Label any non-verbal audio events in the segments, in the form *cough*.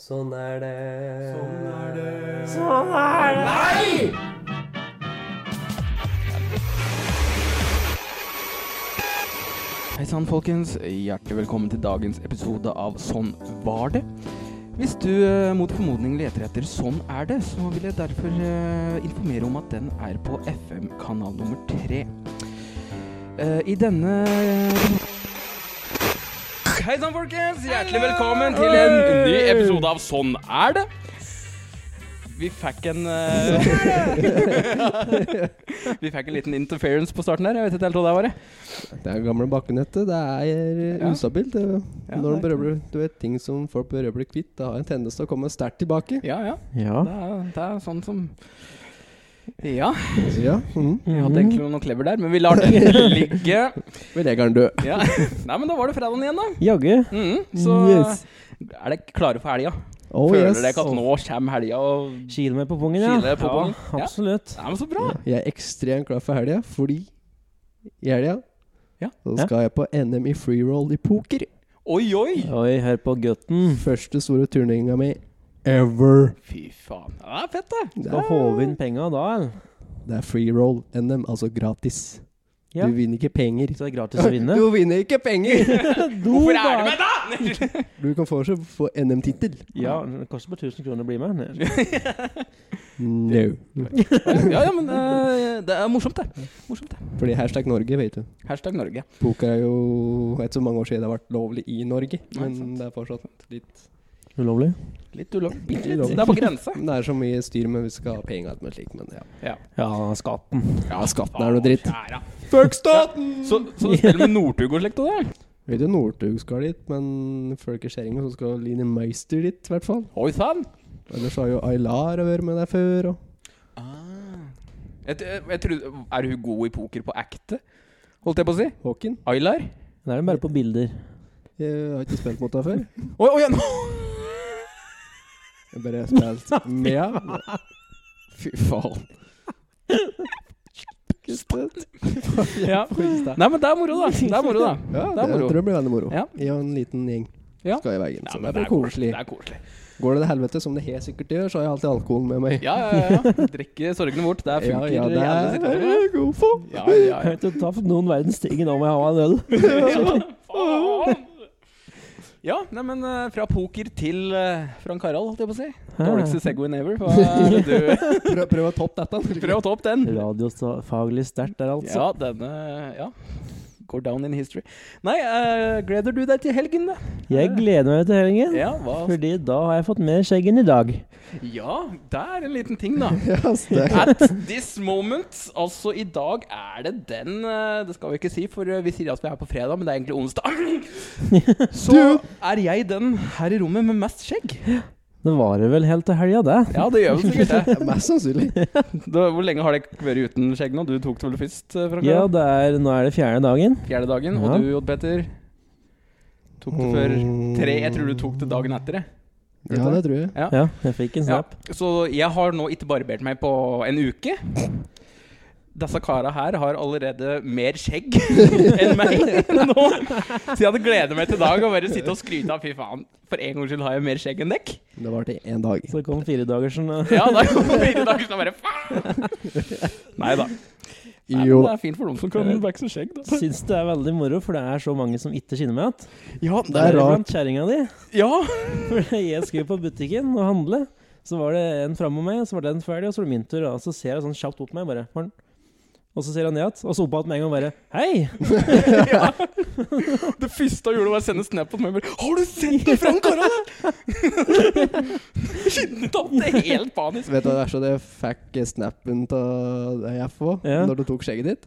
Sånn er det. Sånn er det. Sånn er det. Nei! Hei sann, folkens. Hjertelig velkommen til dagens episode av Sånn var det. Hvis du eh, mot formodning leter etter Sånn er det, så vil jeg derfor eh, informere om at den er på FM-kanal nummer tre. Eh, I denne Hei sann, folkens. Hjertelig velkommen til en ny episode av Sånn er det. Vi fikk en eh, *laughs* Vi fikk en liten interference på starten her. Jeg vet ikke helt hva det var. jeg. Det er gamle bakkenettet. Det er eh, Ja. ustabilt. det. Ja, Når det er det berører, du vet, ting som folk berører blir kvitt, det har en tendens til å komme sterkt tilbake. *laughs* Ja, ja. Ja. Det er, det er sånn som Ja, Ja. Mm. jeg hadde egentlig noe clever der, men *laughs* vi lar det ligge. Vi legger den død. Ja. Nei, men da var det fredagen igjen, da. Jaggu. Mhm, så Yes. er dere klare for helga? Oh, Føler yes. dere ikke at nå kommer helga og Kile meg på pungen, ja. kiler på pungen? ja. Ja. Absolutt. Nei, men så bra. Jeg er ekstremt glad for helga, fordi i helga Ja. så skal jeg på NM i freeroll i poker. Oi, oi. Oi, hør på gutten. Første store turneringa mi ever. Fy faen. Ja, det er fett, det. Det Skal er, håve inn penga da, eller? det er freeroll NM, altså gratis. Ja. Du vinner ikke penger. Så det er gratis å vinne? Du vinner ikke penger! Hvorfor er du med, *laughs* da? Du kan fortsatt få NM-tittel. Ja, det koster bare 1000 kroner å bli med. Nei. No. ja, ja, men eh, det er morsomt, det. Morsomt, det. Fordi hashtag Norge, vet du. Hashtag Norge. Poker er jo Jeg vet så mange år siden det har vært lovlig i Norge, Nei, men sant. det er fortsatt litt Ulovlig? Litt ulovlig. Bitte litt. Ulovlig. Det er på grensa. Det er så mye styr med vi skal ha penger og slikt, men ja. Ja, skatten. Ja, skatten er noe dritt. Kjære. Fuck staten! Så, så du spiller med Northug og slikt òg, eller? Vet du, Northug skal dit, men følger ikke skjæringa, så skal Line Meister dit, i hvert fall. Oi sann! Ellers har jo Aylar vært med der før, og Ah. Jeg, t- jeg trodde, er hun god i poker på ekte? Holdt jeg på å si. Håkin. Aylar? Det er det bare på bilder. Jeg har ikke spilt mot deg før. Oi, oi, nå! Jeg bare har *laughs* spilt med henne. Fy faen. *laughs* Ja. Nei, men det er moro, da. Det er *laughs* moro, da. Ja, Det er det moro. tror jeg blir veldig moro. Ja. I en liten gjeng Ja. skal i veien. Ja, Så men det blir koselig. Det er koselig. Går det til helvete, som det helt sikkert gjør, så har jeg alltid alkoholen med meg. Ja, ja, ja. ja. Drikke sorgene bort. Det ja, funker i alle det er situasjoner. jeg god for. Ja, ja, ja. *laughs* Jeg vet, ta for noen verdens ting nå må jeg ha en øl. Faen. Ja, nei, men eh, fra poker til eh, Frank Harald, holdt jeg på å si. Dårligste Segwayen *laughs* ever. Hva er det du Prøv, prøv å toppe dette. *laughs* Prøv å ta opp den. Radiofaglig sterkt der, altså. Ja, denne Ja. Går down in history. Nei, eh, gleder du deg til helgen, da? Eh, Jeg gleder meg til helgen, Ja, hva? fordi da har jeg fått mer skjegg enn i dag. ja, det er en liten ting, da. *laughs* Ja, altså, stemmer. At this moment, altså i dag er det den eh, Det skal vi ikke si, for eh, vi sier at vi er på fredag, men det er egentlig onsdag. Så er jeg den her i rommet med mest skjegg. Det varer vel helt til helga, det. Ja, det gjør vel sikkert det. Mest sannsynlig. *laughs* Da, hvor lenge har dere vært uten skjegg nå? Du tok det vel først? eh, Frank? Ja, det er, nå er det fjerde dagen. Fjerde dagen. Ja. Og du, Odd Petter? Tok det før tre? Jeg tror du tok det dagen etter, jeg. Ja, det tror jeg. Ja, jeg fikk en Ja, snap. så jeg har nå ikke barbert meg på en uke. Disse kara her har allerede mer skjegg *laughs* enn meg nå. Så jeg hadde gledet meg til i dag å bare sitte og skryte av fy faen, for en gangs skyld har jeg mer skjegg enn dekk. Det var til én dag. Så det kom fire dager sånn. eh. Ja, da kom det fire dager så bare faen. Nei da. Nei, men Jo. Eh. Det er fint for dem som kan vokse skjegg, da. *laughs* Syns det er veldig moro, for det er så mange som ikke skinner meg igjen. Ja, Det er rart. Blant kjerringa di. *laughs* Ja. *laughs* For jeg skulle på butikken og handle. Så var det en framme meg, og så var det en ferdig, og så var det min tur. Og så ser jeg sånn kjapt opp på meg, bare «Morn». Og så ser han ned igjen, og så opp igjen med en gang, bare Hei! Det første jeg gjorde, var å sende snap på meg. og bare, Har du sett det, Frank Harald? *laughs* Skinnet opp. Det er helt panisk. Vet du hva det er så det fikk snappen av deg, FH, Ja. når du tok skjegget ditt?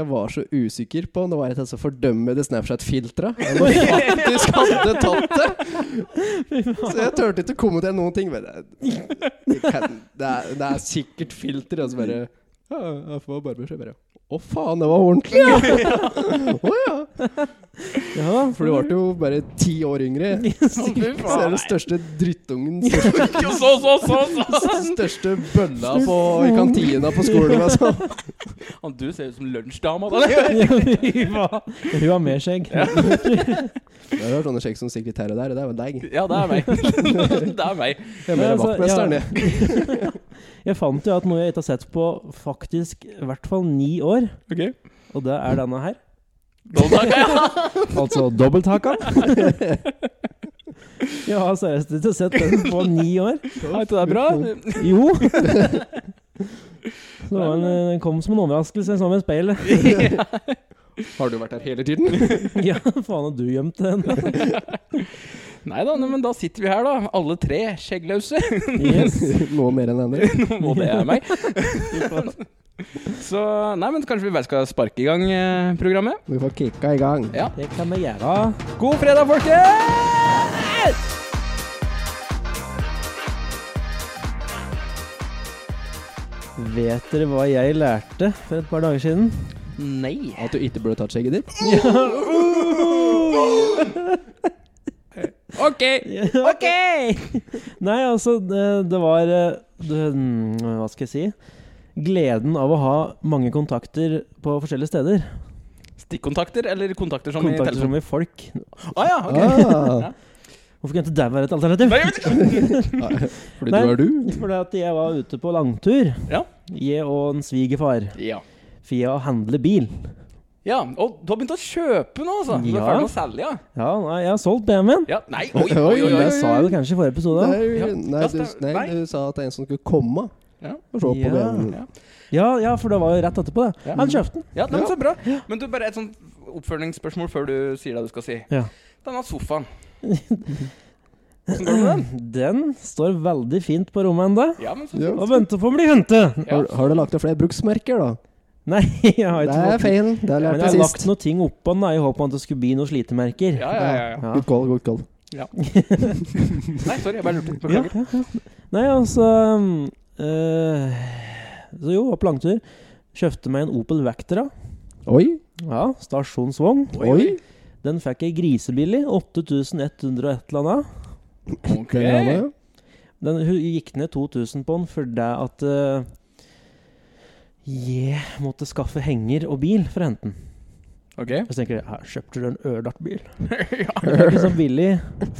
Jeg var så usikker på om det var et av disse fordømmede Snapchat-filtra. *laughs* om du faktisk hadde tatt det! Så jeg turte ikke å kommentere noen ting. Men det, altså, det, kan, det, er, det er sikkert filter. Og så bare ja, FH barber seg bare Å faen, det var ordentlig! Å ja. Ja, *laughs* For du ble *laughs* jo bare ti år yngre. Så Yes. du er den største drittungen. Største, så, så, så, *laughs* største bølla på, i kantina på skolen. Altså. Du ser ut som lunsjdama. da. Hun har mer skjegg. Det har vært sånne skjegg som sekretærer der. Det er jo deg. Ja, det er *laughs* meg. det er meg. Jeg er mer Ja, altså, vaktmesteren, ja. jeg. Jeg fant jo at noe jeg ikke har sett på faktisk i hvert fall ni år, Okay. og det er denne her. Ja. Altså dobbelthaka. Jeg har seriøst ikke sett den på ni år. Er ikke det bra? *laughs* Jo. Så det var en, den kom som en overraskelse. Jeg så med *laughs* speilet. Har du vært her hele tiden? Ja, faen, har du gjemt den? Nei da, men da sitter vi her, da. Alle tre skjeggløse. *laughs* Yes. *laughs* Noe mer enn andre. Og det er meg. Så nei, men kanskje vi bare skal sparke i gang eh, programmet. Vi får kicka i gang. Ja. Det kan vi gjøre. God fredag, folkens! Vet dere hva jeg lærte for et par dager siden? Nei. At du ikke burde tatt skjegget ditt? *laughs* OK. OK! Nei, altså, det, det var eh, det, mm, Hva skal jeg si? Gleden av å ha mange kontakter på forskjellige steder. Stikkontakter eller kontakter som i Kontakter som telefonen? med folk. Å ja, ok. Ah, Hvorfor kunne ikke det være et alternativ? Nei, jeg vet ikke. fordi du er du? Fordi at jeg var ute på langtur, Ja. jeg og en svigerfar, Ja. for jeg handler bil. ja. Og du har begynt å kjøpe nå, altså? Du er Ja. ferdig med å selge, ja? Ja, nei, jeg har solgt BMW-en. ja. Nei, oi, Oi, oi, oi. oi. Det sa jeg vel kanskje i forrige episode. Nei, Ja. nei, Ja, du, stem- nei, nei. du sa at det er en som skulle komme Ja. og se på Ja. BMW-en. Ja, ja, for det var jo rett etterpå, det. Ja. Han kjøpte den. Ja, nei, men så bra. Men du, bare et sånt oppfølgingsspørsmål før du sier det du skal si. Ja. Denne sofaen. Hvordan går det med den? Den står veldig fint på rommet enda Ja, men så, Ja. og venter på å bli hentet. *laughs* ja. Har, har du lagt deg flere bruksmerker, da? Nei, jeg har Det ikke er feil. Det har jeg Men lært jeg til har lagt sist. noen ting oppå den da, i håp om at det skulle bli noen slitemerker. Ja, ja, ja, ja. Ja. Good call, good call. Nei, sorry, jeg bare lurte. Ja, Beklager. ja, ja. Nei, altså um, eh, Så jo, opp langtur. Kjøpte meg en Opel Vectra. Oi, Ja, stasjonsvogn. oi. Den fikk jeg grisebillig. 8100 og et eller annet. Ok. Den er det. Den hun gikk ned 2000 på den fordi at eh, jeg måtte skaffe henger og bil for å hente den. Ok. Så tenker jeg, her kjøpte du en ørdatt *laughs* bil? ja, Det er ikke så billig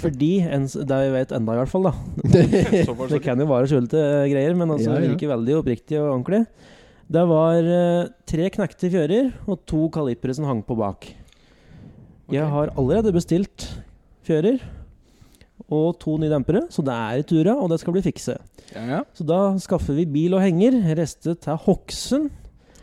fordi en, s- Det jeg vet enda, i hvert fall. da såpass. Det kan jo være skjulte eh, greier, men altså, Ja, ja. det virker veldig oppriktig og ordentlig. Det var eh, tre knekte fjører og to kalipere som hang på bak. Jeg har allerede bestilt fjører og to nye dempere, så det er i tura, og det skal bli fikse. Ja, ja. Så da skaffer vi bil og henger, reiste til Hokksund,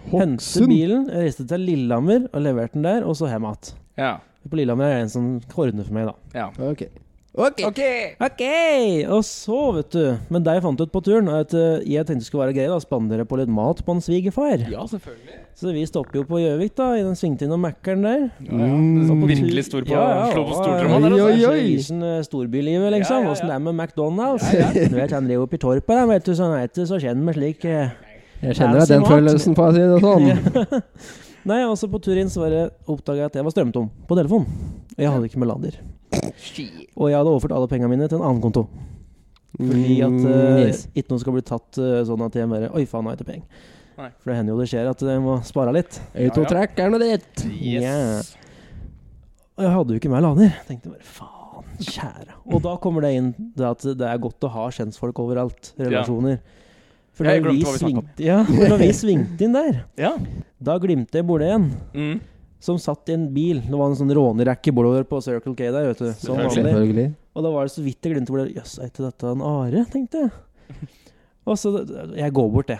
hente Hokksund. bilen, reiste til Lillehammer og leverte den der, og så hjem igjen. Ja. På Lillehammer er det en som ordner for meg, da. ja. Ok. Ok. Ok, og så vet du Men det jeg fant ut på turen er at eh, Jeg tenkte det skulle være greit å spandere på litt mat på en svigerfar Ja, selvfølgelig. Så vi stopper jo på Gjøvik da I den svingte inn og mekkeren der Ja, ja. Og på Virkelig tur- stor på, Ja, ja, slå på og- stortromma der, Oi, oi, altså. Det er oi. så isen, eh, storbylivet Ja, liksom ja, ja. Hvordan det er med McDonalds Ja, *laughs* Du vet han driver opp i torpet da Vet du sånn vet du så kjenner med slik eh. Jeg kjenner deg den følelsen, for å si det sånn. Nei, og så på tur inn så var det oppdaget jeg at jeg var strømtom På telefon Og jeg hadde ikke med lader Shit. Og jeg hadde overført alle pengene mine til en annen konto Fordi at Mm, Mm, eh, ikke noe skal bli tatt eh, sånn at jeg bare Oi, faen, nå har jeg ikke penger. Nei. For det hender jo det skjer at jeg må spare litt. Autotrackeren og ditt. Yes. Og jeg hadde jo ikke mer lader. Tenkte bare faen, kjære. Og da kommer det inn det at det er godt å ha kjentfolk overalt. Relasjoner. For Jeg når glemte vi, hva vi snakket om. svingte, ja, for *laughs* når vi svingte inn der, Ja. da glimtet jeg bordet igjen. Mm. Som satt i en bil. Det var en sånn rånerekke bordover på Circle K der, vet du. Som vanlig. Selvfølgelig. Og da var det så vidt jeg glemte hvor det Jøss, er ikke dette en are? tenkte jeg. Og så Jeg går bort, jeg.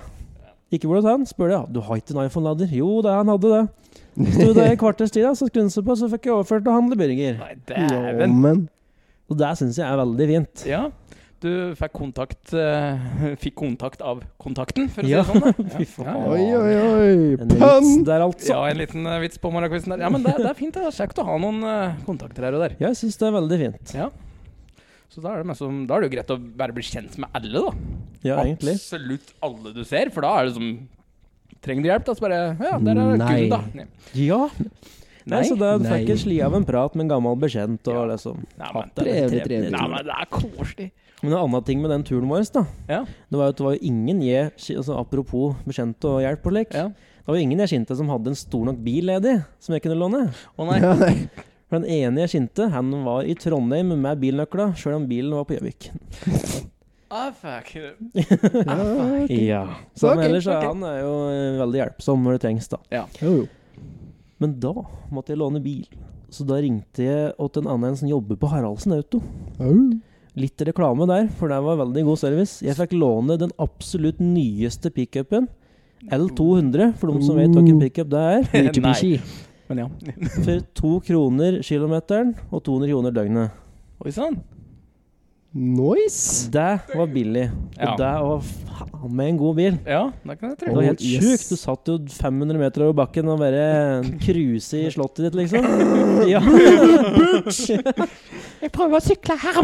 Ikke hvor det er han, spør jeg. Du har ikke en iPhone-lader? Jo, det han hadde det. Sto *laughs* der i kvarters tid, da, så skrudde han på, så fikk jeg overført og handle burger. Nei, Ja, dæven. men Og det syns jeg er veldig fint. Ja. Du fikk kontakt eh, Fikk kontakt av kontakten, for å si Ja. det sånn. da. *laughs* Fy faen. Ja, ja. Oi, oi, oi. En vits Pønn! der, altså. Ja, en liten eh, vits på morgenkvisten der. Ja, men det, det er fint. Det er kjekt å ha noen eh, kontakter her og der. Ja, jeg syns det er veldig fint. Så da er, det mest som, da er det jo greit å bare bli kjent med alle, da. Ja, egentlig. Absolutt alle du ser, for da er det som Trenger du hjelp, da? Så bare Ja, der er Nei. Gunn, da. Nei, Ja. Nei, Nei. så da Nei. fikk jeg sli av en prat med en gammel bekjent. Og Ja. liksom, Nei, men, hatt det Trevlig, litt trevlig. nei, men det er koselig. Men en annen ting med den turen vår, da, Ja. det var jo at det var jo ingen jeg altså, Apropos bekjente og hjelp og lek. Ja. Det var jo ingen jeg kjente som hadde en stor nok bil ledig, som jeg kunne låne. Å nei. Ja, nei. For den ene jeg kjente, han var i Trondheim med bilnøkla, sjøl om bilen var på Gjøvik. Ah, fuck. Ja, ok. Ja. Så Ok, men ellers er ok. han er jo eh, veldig hjelpsom når det trengs, da. Jo, jo. Men da måtte jeg låne bil. Så da ringte jeg åt en annen som jobber på Haraldsen Auto. Au. Litt reklame der, for det var veldig god service. Jeg fikk låne den absolutt nyeste pickupen. L200, for de som vet hvilken pickup det er. *laughs* Mitsubishi. Men ja. For to kroner kilometeren og 200 kroner døgnet. *laughs* Oi sånn. sann. Nice! Det var billig. Og Ja. det var faen meg en god bil. Ja, da kan jeg Det tro. var helt Oh, yes. sjukt. Du satt jo 500 meter over bakken og bare cruise i slottet ditt, liksom. Ja. *laughs* Jeg prøver å sykle her.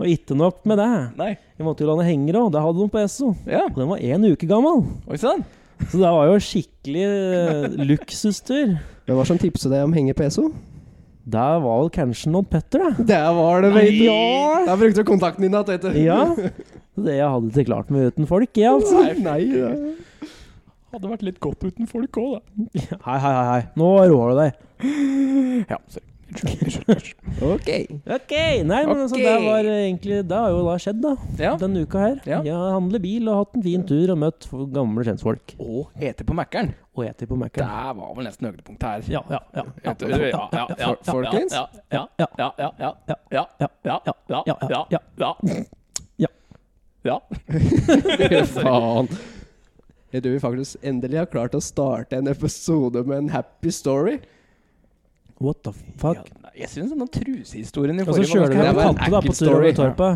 Og ikke nok med det. Nei. Jeg måtte jo låne hengere òg. Det hadde de på Esso. Ja. Og Den var én uke gammel. Oi sånn. sann. Så det var jo skikkelig eh, luksustur. Hvem var det som tipset deg om henge på ESO? Det var vel kanskje noen Petter, da. Der var det, vet du! Nei. Der brukte du kontakten din, da, Tete. Ja. Det jeg hadde ikke klart meg uten folk, jeg, altså. Nei, nei, nei. Hadde vært litt godt uten folk òg, da. Hei, hei, hei. hei. Nå roer du deg. Ja, sorry. Unnskyld, Unnskyld. unnskyld. Ok. Ok, nei, men altså, Ok. det var egentlig Det har jo da skjedd, da. Ja. Denne uka her. Ja. Jeg har handlet bil og hatt en fin tur og møtt f- gamle kjentfolk. Og hete på Mækkern. Og eter på Det Mækkern. var vel nesten høydepunktet her. Ja, ja, ja. Ja, ja, ja, ja, ja, Folkens? Ja, ja, ja, ja, ja, ja, ja, ja, ja, ja, ja, ja, ja, ja. Ja. Ja. Faen. Jeg tror vi faktisk endelig har klart å starte en episode med en happy story. What the fuck? Ja, nei, Jeg syns den trusehistorien i Og så forrige kjøler vi Det over var en katta da, ekkel på tur over story. torpa.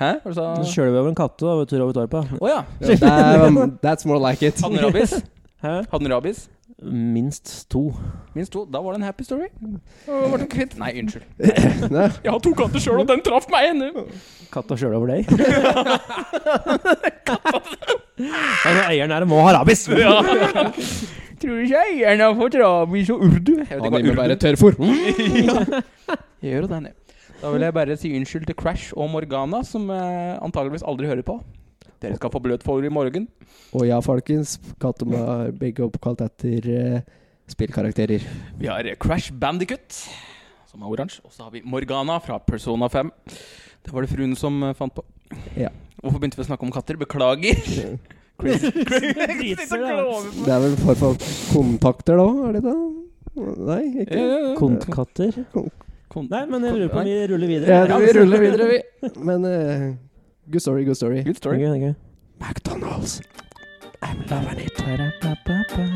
Hæ? Hva sa du? Så kjøler vi over en katte da, på tur over torpa. Å ja. Ja, damn, um, that's more like it. Hadde den *laughs* rabies? Hæ? Hadde den rabies? Minst to. Minst to. Da var det en happy story. Og ble den kvitt. Nei, unnskyld. *laughs* Nei. Jeg har to katter sjøl, og den traff meg ennå. Katta kjøler over deg. *laughs* altså, eieren her må ha rabis! Ja. Tror ikke eieren har fått rabies og urdu. Jeg vet ikke Han hva gir meg urdu bare tørrfôr. Jeg gjør jo det, jeg. Da vil jeg bare si unnskyld til Crash og Morgana, som eh, antageligvis aldri hører på. Dere skal få bløt for i morgen. Og ja, folkens, kattene er begge oppkalt etter eh, *laughs* spillkarakterer. Vi har eh, Crash Bandicut, som er oransje. Og så har vi Morgana fra Persona 5. Det var det fruen som eh, fant på. Ja. Hvorfor begynte vi å snakke om *laughs* katter? Beklager. Crazy. Driter, da. Det er vel for, for kontakter, da? Er det det? Nei, ikke Kontkatter. Nei, men jeg lurer på om vi ruller videre. ja, Vi ruller videre, vi. Men eh, good story, good story. Good story. Ok, ok. McDonald's. I'm loving it.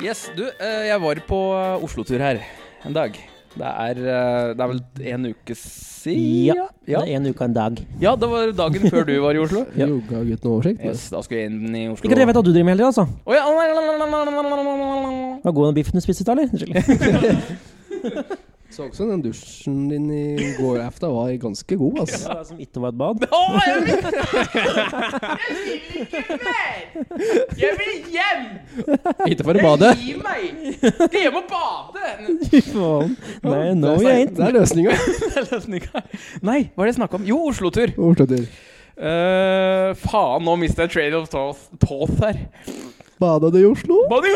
Yes, du, eh, jeg var på eh, Oslo-tur her en dag. Det er, eh, det er vel en uke siden? Ja, ja. Det er en uke og en dag. Ja, det var dagen før du var i Oslo. *laughs* Ja. Jogga gutten oversikt? Yes, da skulle jeg inn i Oslo. Ikke at jeg vet at du driver med heller, altså. Å ja, la, la, la, la, la, la, la, la. Hva går den biffen du spiste i dag, eller? Så også den dusjen din i går aften var ganske god, altså. Ja, som ikke var et *laughs* bad. Å, jeg vil Jeg vil ikke mer! Jeg vil hjem! Ikke for å bade. Gi meg! Det er hjem og bade! *laughs* Fy faen. Nei, Det no er- jeg ain't. Det er løsninga. Nei, hva er det jeg snakka om? Jo, Oslo-tur. Ordtaker. Eh, faen, nå mista jeg trade of thoughts thoughts her. Bada du i Oslo? Body!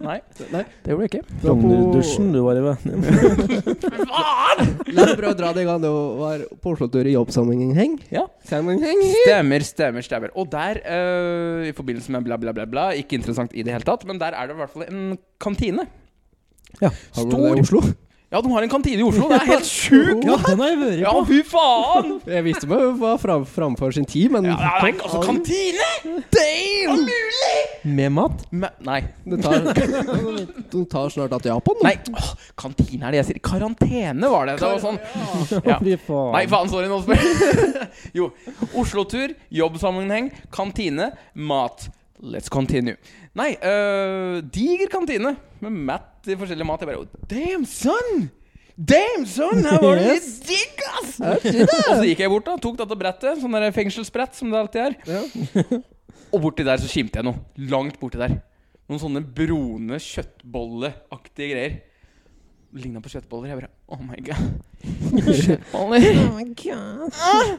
Nei, Nei. det gjorde jeg ikke. Du var på- Rognerdusjen du var i, ved. Faen! La meg prøve å dra det i gang. Det var på Oslo-tur i jobbsammenheng. Ja. Sammenheng. Stemmer, stemmer, stemmer. Og der, eh, i forbindelse med bla, bla, bla, bla Ikke interessant i det hele tatt, men der er det i hvert fall en kantine. Ja. Har du det i Oslo? Ja, de har en kantine i Oslo. Det er *laughs* helt sjukt! Ja, den har jeg vært Ja, på. fy faen! Jeg visste meg var fram, framfor sin tid, men Ja, det er altså kantine! Damn! Mulig! Med mat. Men, nei. det tar, *laughs* de tar snart at Japan. nå. nei. Åh, kantine er det jeg sier. Karantene var det. Det var sånn. Ja. *laughs* Fy Nei, faen. faen, sorry. Nå spør jeg. *laughs* Jo. Oslo-tur, jobbsammenheng, kantine, mat. Let's continue. Nei, øh, diger kantine med matt i forskjellig mat. Jeg bare oh, Damn, son! Damn, son! Her var det litt digg, ass! Og så gikk jeg bort da, tok dette brettet, sånn der fengselsbrett som det alltid er. og borti der så skimte jeg noe. Langt borti der. Noen sånne brune kjøttbolleaktige greier. Ligna på kjøttboller. Jeg bare Oh my god. Kjøttboller. Ah!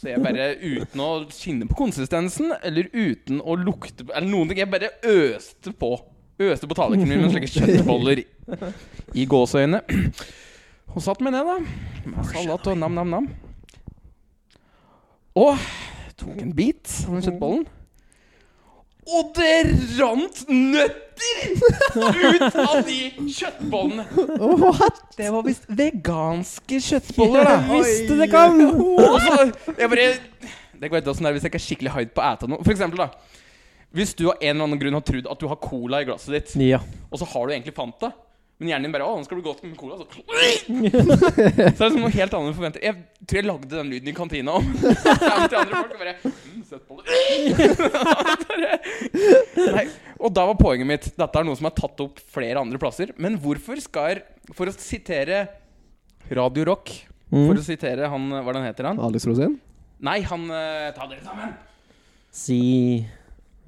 Så jeg bare, uten å kjenne på konsistensen, eller uten å lukte på Eller noen ting, jeg bare øste på. Øste på tallerkenen min med slike kjøttboller i gåseøyne. Og satt meg ned, da. Med salat og nam-nam-nam. Og tok en bit av den kjøttbollen. Og det rant nøtter ut av de kjøttbollene! Det var visst veganske kjøttboller, da. Ja, visste det *laughs* kom! Og så, jeg bare Det går etter åssen det er hvis jeg ikke er skikkelig hyped på å ete noe. For eksempel, da. Hvis du av en eller annen grunn har trodd at du har cola i glasset ditt, Ja. og så har du egentlig Fanta. Men hjernen din bare 'Å, nå skal det bli godt med cola'. Så, så er det som noe helt annet du forventer. Jeg tror jeg lagde den lyden i kantina *laughs* òg. til andre folk og bare mm, søtt bolle». *laughs* Nei, Og da var poenget mitt Dette er noe som er tatt opp flere andre plasser. Men hvorfor skal For å sitere Radio Rock For å sitere han Hva er det han heter han? Alex Rosén? Nei, han eh, Ta dere sammen! Si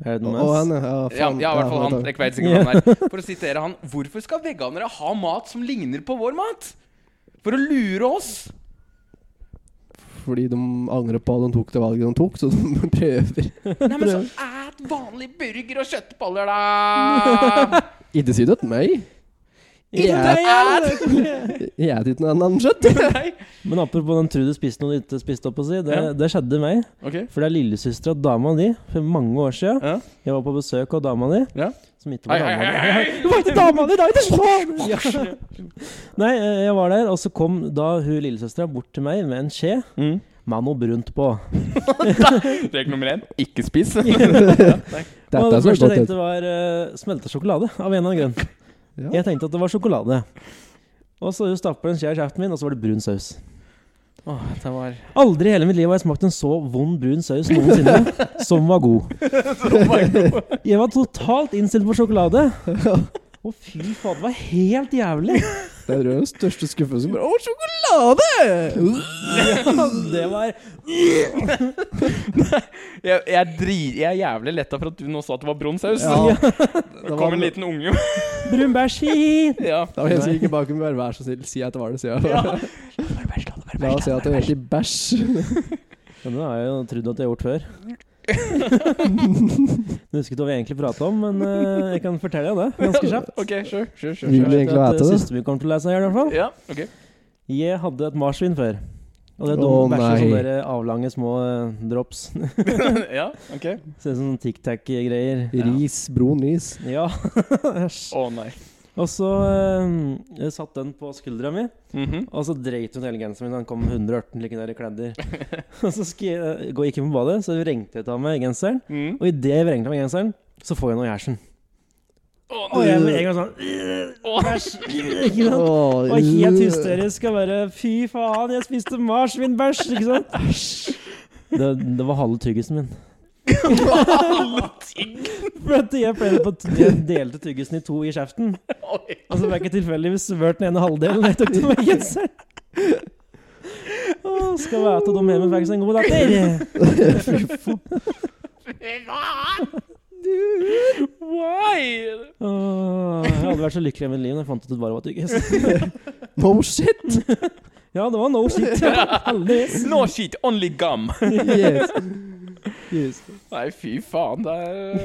Er det Og noe og han, med ja. Ja, faen. ja, i hvert fall han. da- Jeg vet sikkert hva han er. For å sitere han Hvorfor skal veganere ha mat som ligner på vår mat? For å lure oss? Fordi de angrer på at de tok det valget de tok, så de *laughs* prøver. Nei, men så et vanlig burger og kjøttboller, da! Ikke si det til meg. Ikke et Jeg spiser ikke noe annet kjøtt. Nei. Men apropos den Trude spiste noe du ikke spiste opp å si, det, Ja. det skjedde meg. Ok. For det er lillesøstera til dama di for mange år siden. Ja. Jeg var på besøk hos dama di. Ja. Som ikke Hei, var hei, dama hei, di. hei, hei! Det var ikke dama di! Det er ikke sånn! *laughs* Ja. Nei, eh, jeg var der, og så kom da hun lillesøstera bort til meg med en skje med noe brunt på. Regel nummer én ikke *laughs* spis. *laughs* Dette og er det så første jeg godt. tenkte, var uh, smelta sjokolade, av en eller annen grunn. Ja. Jeg tenkte at det var sjokolade. Og så stappa en skje i kjeften min, og så var det brun saus. Åh, det var Aldri i hele mitt liv har jeg smakt en så vond brun saus *laughs* noensinne, som var god. Jeg var totalt innstilt på sjokolade. Å, fy faen, det var helt jævlig. *laughs* Det er den største skuffelsen. Å, sjokolade! Det var Jeg, jeg, dri, jeg er jævlig letta for at du nå sa at det var brun saus. Ja, det det var- kom en liten unge. brun bæsj hit. *laughs* ja. Da var jeg som gikk bak og bare vær så snill, si at det var det, sier jeg. *laughs* La oss si at det var egentlig bæsj. Men det har jeg jo trodd at jeg har gjort før. *laughs* Jeg husker ikke hva vi egentlig prata om, men eh, jeg kan fortelle deg det ganske kjapt. *laughs* Ok, sure, sure, sure, Vil sure. du egentlig ha det? etter det? eh, Siste vi kommer til å lese her, i hvert fall. Ja, ok. *laughs* Jeg hadde et marsvin før. Og det er Å, dumme bæsjer som nei. dere avlange små eh, drops. *laughs* ja, ok. Ser ut som Tic Tac-greier. Ris, brun ris. Ja. Æsj. Å nei. og så eh, jeg satt den på skuldra mi, Mhm. og så dreit hun hele genseren min. Han kom 118 like der i *laughs* kledder. og så skal jeg, går jeg ikke på badet, så vrengte jeg av meg genseren. *laughs* Mhm. Og idet jeg vrengte av meg genseren, så får jeg noe i hersen. Å, Og jeg med en gang sånn Å, ikke sant? Og helt hysterisk og bare Fy faen, jeg spiste marsvinbæsj! Ikke sant? Det, det var halve tyggisen min. For at jeg pleide på at jeg delte tyggisen i to i *laughs* kjeften. Og så var jeg ikke tilfeldigvis svørt den ene halvdelen. Jeg tok det med *laughs* genseren. Å, Skal være til dem hjemme fikk seg en god datter. Why? Å, Jeg hadde vært så lykkelig i mitt liv når jeg fant ut at det bare var tyggis. No Oh, shit! Ja, det var no shit. *laughs* Heldigvis. No shit, only gum. Yes. yes. Nei, fy faen, det er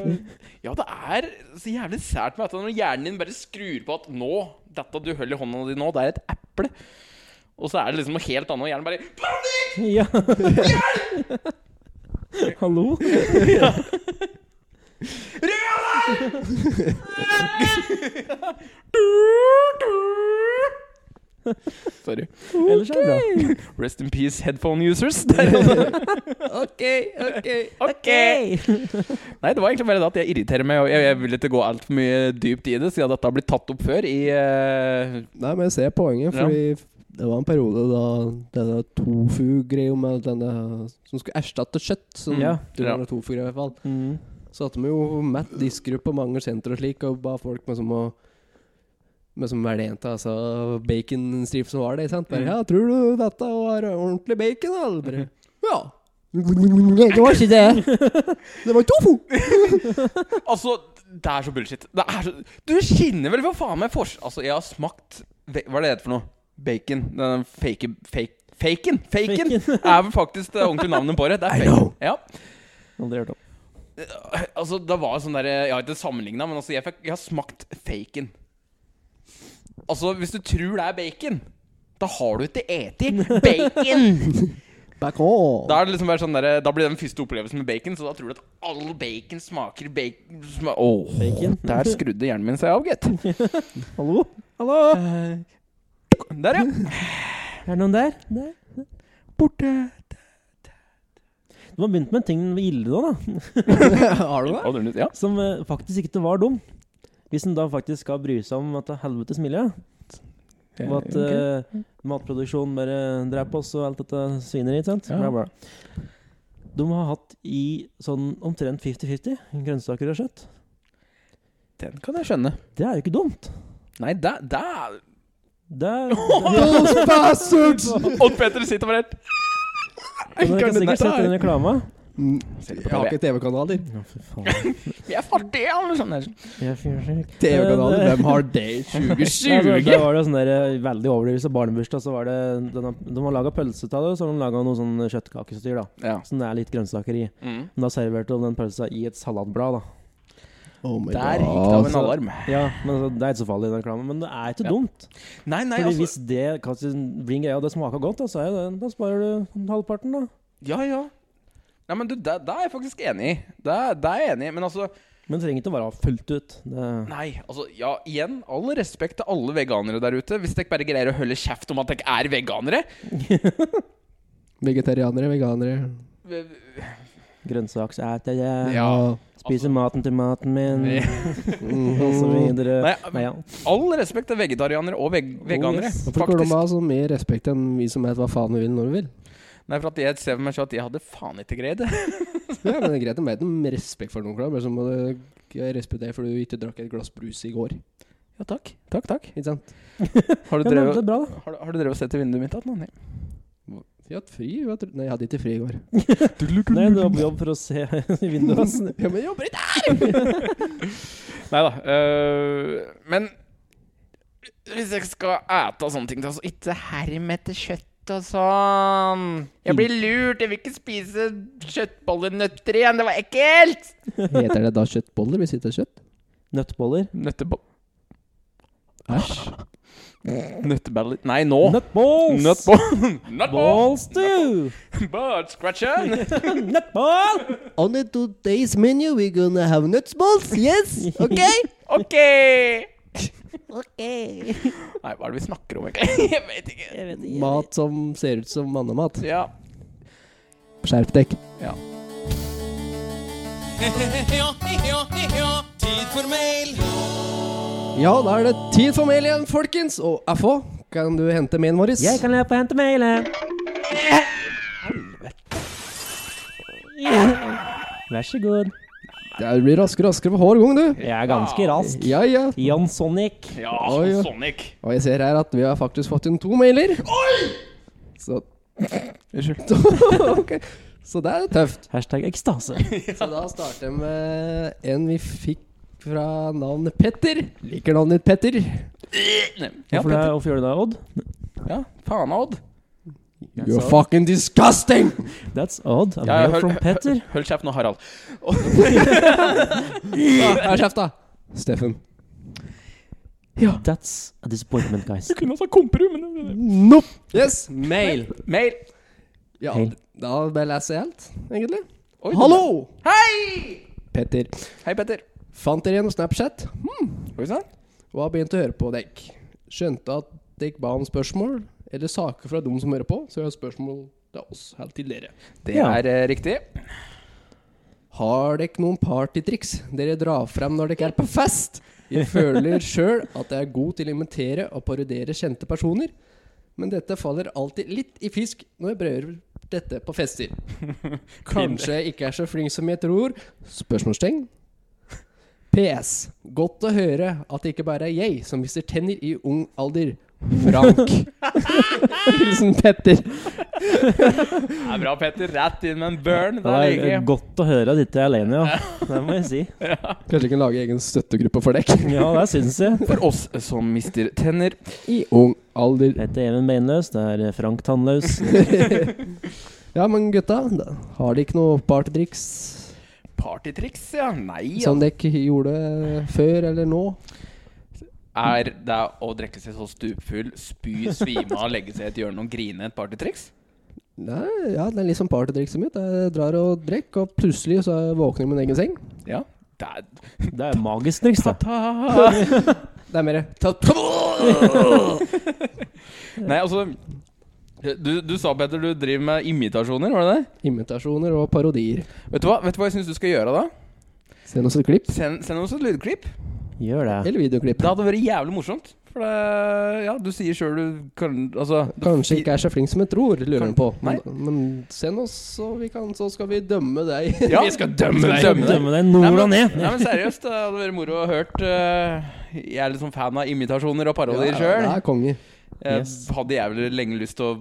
Ja, det er så jævlig sært med dette når hjernen din bare skrur på at nå Dette du holder i hånda di nå, det er et eple. Og så er det liksom noe helt annet, og hjernen bare Panikk! Ja. *laughs* Hallo? Sorry. Ellers er det bra. Rest in peace, headphone *laughs* users. *laughs* Der, altså. OK, OK. Ok! Nei, det var egentlig bare det at jeg irriterer meg, og jeg, jeg vil ikke gå altfor mye dypt i det, siden dette har blitt tatt opp før i eh, Nei, men jeg ser poenget, Ja. fordi det var en periode da denne tofu-greia med denne som skulle erstatte kjøtt som Mm, ja. du Ja. var tofu-greia i hvert fall Mm. Så hadde vi jo matt diskgruppe på mange sentre og slik, og ba folk med som å Men som var det jenta, altså baconstrips som var det, sant? Mm. Bare, ja, tror du dette var ordentlig bacon, da? Alle *laughs* Bare, ja. Det var ikke det. *laughs* Det var tofu. *laughs* Altså, det er så bullshit. Det er så Du skinner vel for faen meg fors... Altså, jeg har smakt ve- Hva er det det heter for noe? Bacon. Den fake, fake, faken! Faken Bacon. *laughs* er vel faktisk det ordentlige navnet på det. Det er bacon. Ja. Aldri hørt om. Altså, det var sånn derre Jeg har ikke sammenligna, men altså, jeg, fikk, jeg har smakt faken. Altså, hvis du tror det er bacon, da har du ikke eti bacon! Back on. Da, er det liksom bare sånn derre- da blir det den første opplevelsen med bacon, så da tror du at all bacon smaker bacon sma Åh, Bacon. Der skrudde hjernen min seg av, gitt. *laughs* Eh, Hallo? Hallo? Der, *laughs* ja. Er det noen der? Der. Borte. Du har begynt med en ting ille da, da. *laughs* Har du det? Ja. Som eh, faktisk ikke var dum. Hvis en da faktisk skal bry seg om at det er helvetes miljø, og at eh, matproduksjon bare dreper oss og alt dette svineriet, ikke sant? Ja. Bla, bla. De har hatt i sånn omtrent 50-50 grønnsaker og kjøtt. Den kan jeg skjønne. Det er jo ikke dumt. Nei, det det er Det er, Those bastards! Odd Petter sitter bare helt Men dere kan sikkert sette inn reklame. Mm. Jeg har ikke TV-kanaler. Ja, fy faen. Vi er fattige, alle sammen. Jeg fyrer seg ikke. TV-kanaler, Eh, det- hvem har det *laughs* i Nei, altså, 2020? Der var det sånn der eh, veldig overdrivelse. Barnebursdag, så var det den, De har laga pølse av det, og så har de laga noe sånn kjøttkakestyr, da. Ja. Som det er litt grønnsaker i. Mm. Men da serverte de den pølsa i et salatblad, da. Oh my Der gikk det av en altså. alarm. Ja, men altså, Det er ikke så farlig, den reklamen, men det er ikke Ja. dumt. Nei, nei, Fordi altså Hvis det kanskje blir en greie, og det smaker godt, da, så er jo det, da sparer du halvparten, da. Ja, ja. Nei, men du, det, det er jeg faktisk enig i. Det, det er jeg enig i. Men altså Men det trenger ikke å være fullt ut. Det, Nei, altså, ja, igjen, all respekt til alle veganere der ute. Hvis dere bare greier å holde kjeft om at dere er veganere Altså, Vegetarianere, veganere. Grønnsakseter, Eh, jeg Ja. spiser maten til maten min, *laughs* og så videre. Nei, Nei, ja. Oh, all respekt til vegetarianere og veg veganere, yes. Hvorfor går de faktisk. av så mye altså respekt enn vi som vet hva faen vi vil når vi vil? *laughs* Nei, for at jeg ser for meg selv at jeg hadde faen ikke greid det. Ja, men det er greit med dem respekt for noen, klar, men så må du respektere for du ikke drakk et glass brus i går. Ja, takk. Takk, takk. Ikke sant? Har du Ja, men drevet det er bra, da. har, du- har du drevet og sett i vinduet mitt? Adnan? Nei. Vi har hatt fri. Vi har hatt... Nei, jeg hadde ikke fri i går. *laughs* Nei, du var på jobb for å se *laughs* i vinduet. ass. Ja, men jeg jobber ikke! Neida, øh, men hvis jeg skal ete og sånne ting, da, så ikke herm etter kjøtt og sånn. Jeg blir lurt. Jeg vil ikke spise kjøttbollenøtter igjen. Det var ekkelt! Heter det da kjøttboller hvis det ikke er kjøtt? Nøttboller. Nøttebo Æsj. Nøtteballer Nei, nå! Nutballs! Nutball. Nutball. Balls too! Bird *laughs* scratcher. *laughs* Nutball! On today's menu we're gonna have nutsballs, yes, *laughs* okay? OK! ok. Nei, hva er det vi snakker om, egentlig? Jeg vet ikke. Mat som ser ut som mannemat. Ja. Skjerp deg. ja. Ja, da er det tid for mail igjen, folkens. Og FH, kan du hente mailen vår? Jeg kan løpe og hente Eh. mailen. Vær så god. Ja, Du blir raskere og raskere for hver gang, du. Jeg er ganske rask. Ja, ja. Jan Sonic. Ja, Oi, ja. Sonic. Og jeg ser her at vi har faktisk fått inn to mailer. Oi! Så *laughs* Unnskyld. Ok. Så det er *laughs* tøft. Hashtag ekstase. Så da starter jeg med en vi fikk fra navnet Petter. Liker navnet ditt, Petter. Ja, Hvorfor, det, hvorfor gjør du det, Odd? ja. Faen, Odd. You're fucking disgusting! That's Odd. I'm Ja, here høl- from Petter. høl- Hold kjeft nå, Harald. Hold kjeft, da. Steffen. That's a disappointment, guys. Kunne også ha komperu, men Nope. Yes, Mm. mail. Mail. Ja, Mail. da bare leser jeg helt, egentlig. Oi, du- Hallo! Hei! Petter. Hei, Petter. Fant dere igjen Snapchat? Oi sann. og har begynt å høre på dekk. Skjønte at dekk ba om spørsmål eller saker fra dem som hører på, så jeg har spørsmål til oss helt til dere. Det Ja. er eh, riktig. Har dere noen partytriks dere drar frem når dere er på fest? Jeg føler sjøl at jeg er god til å imitere og parodiere kjente personer, men dette faller alltid litt i fisk når jeg prøver dette på fester. Kanskje jeg ikke er så flink som jeg tror? Spørsmålstegn. PS. Godt å høre at det ikke bare er jeg som mister tenner i ung alder. Frank. Hilsen Petter. Det er bra, Petter. Rett inn med en burn. Det er godt å høre at ikke jeg er alene, ja. Det må jeg si. Kanskje vi kan lage egen støttegruppe for deg. Ja, det syns jeg. For oss som mister tenner. I ung alder. Dette er Even Beinløs, det er Frank Tannløs. *laughs* Ja, men gutta, da har de ikke noe partytriks Partytriks, ja. Nei, ja. som dere gjorde før eller nå? Er det å drikke seg så stupfull, spy, svime av, legge seg i et hjørne og grine et partytriks? Nei, ja, det er litt sånn som partytrikset mitt. Jeg drar og drikker, og plutselig så våkner jeg i min egen seng. Ja. Det er Det er magisk triks, da. Det er mer ta *laughs* Nei, altså du, du sa, Petter, du driver med imitasjoner, var det det? imitasjoner og parodier. Vet du hva, Vet du hva jeg syns du skal gjøre da? Send oss et klipp. Send, send oss et lydklipp. Gjør det. Eller videoklipp. Det hadde vært jævlig morsomt. For det, ja, du sier sjøl du kan Altså du- Kanskje ikke er så flink som jeg tror, lurer han på. Men, Nei. men send oss, så, vi kan, så skal vi dømme deg. Ja. vi skal dømme Skal deg! dømme Dømme deg Nei, nord og men, nei, ned. men seriøst, det hadde vært moro å hørt eh, Jeg er litt sånn fan av imitasjoner og parodier *laughs* Ja, sjøl. Det er konge. Jeg Yes. Eh, hadde jævlig lenge lyst til å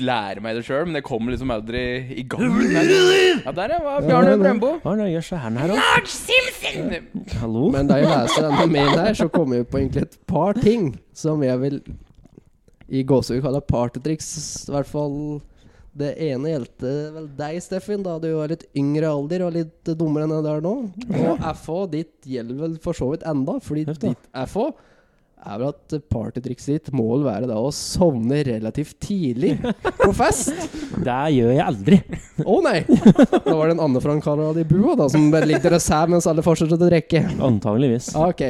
lære meg det sjøl, men det kom liksom aldri i gang. Ja, der ja, var Bjarne Ja, men- Brembo. Hva er det jeg gjør så her her òg? Hallo? Men da jeg leser denne mailen her, så kommer jeg på egentlig et par ting som jeg vil i gåsehud kalle partytriks. I hvert fall det ene gjeldte vel deg, Steffen, da du var litt yngre alder og litt dummere enn jeg der nå. Og FH ditt gjelder vel for så vidt enda, fordi Heftig. ditt FH er vel at partytrikset ditt må vel være da å sovne relativt tidlig på fest. Det gjør jeg aldri. Å nei! Da var det en annen Frank-karer i bua da, som bare ligger der sær mens alle fortsetter å drikke. Antageligvis. Ok.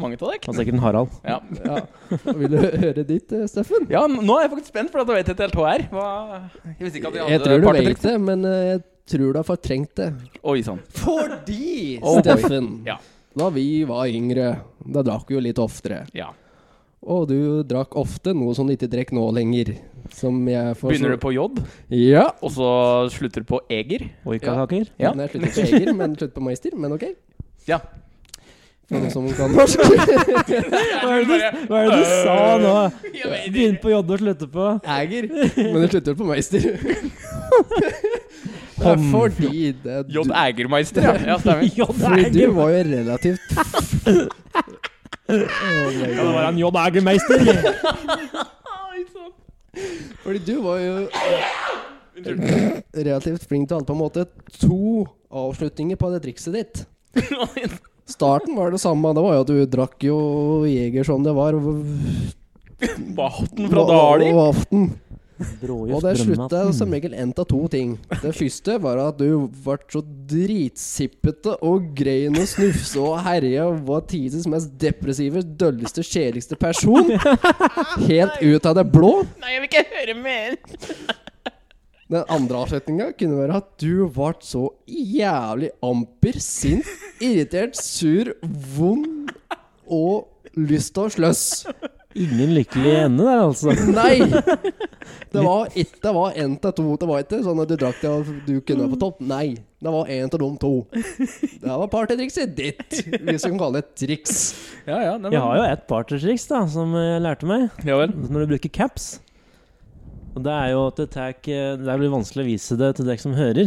Mange av dere. Han Altså- sikkert en Harald. Ja. Ja. Vil du høre ditt, eh, Steffen? ja, nå er jeg faktisk spent, for at jeg vet ikke helt hva er. Hva- Jeg visste ikke at de Jeg hadde tror du vet partytriks. det, men eh, jeg tror du har fortrengt det. Oi sånn. sann. Fordi, Oh, boy. Steffen, Ja. da vi var yngre, da drakk vi jo litt oftere. Ja. Og du drakk ofte noe som du ikke drekk nå lenger. Som jeg får Begynner du på J, Ja. og så slutter du på Eger? Oikakaker. Ja. Men jeg slutter på Eger, men slutter på Meister. Men ok. Ja. For Noen *laughs* som kan norsk. Hva er det du, hva er det du sa nå? Begynne på J og slutte på Eger, men du slutter på *laughs* Meister. Det er fordi det J. Egermeister, ja. ja stemmer. *laughs* J. Fordi Eger. du var jo relativt oh my Kan det være en J. *laughs* Eger-meister? sånn. Fordi du var jo relativt flink til å holde på en måte to avslutninger på det trikset ditt. sånn. Starten var det samme. Det var jo at du drakk jo Jeger som det var. Vatn fra Dali. Og, aften. Brågift og det altså. slutta Brønnmaten. som regel en av to ting. Det første var at du ble så dritsippete og grein og snufse og herja og var tidenes mest depressive, dølleste, kjedeligste person. Helt ut av det blå. Nei, jeg vil ikke høre mer. Den andre avslutninga kunne være at du ble så jævlig amper, sint, irritert, sur, vond og lyst til å sløss. Ingen lykkelig ende der, altså. Nei! Det var ikke det var en av to. Det var ikke sånn at du drakk det og du kunne være på topp. Nei. Det var en av de to. Det var partytrikset ditt, hvis vi kan kalle det et triks. Ja, ja, nei, men- Jeg har jo et partytriks da, som jeg lærte meg. Ja vel. Når du bruker caps. Og det er jo at det, tar, ikke- det blir vanskelig å vise det til dere som hører.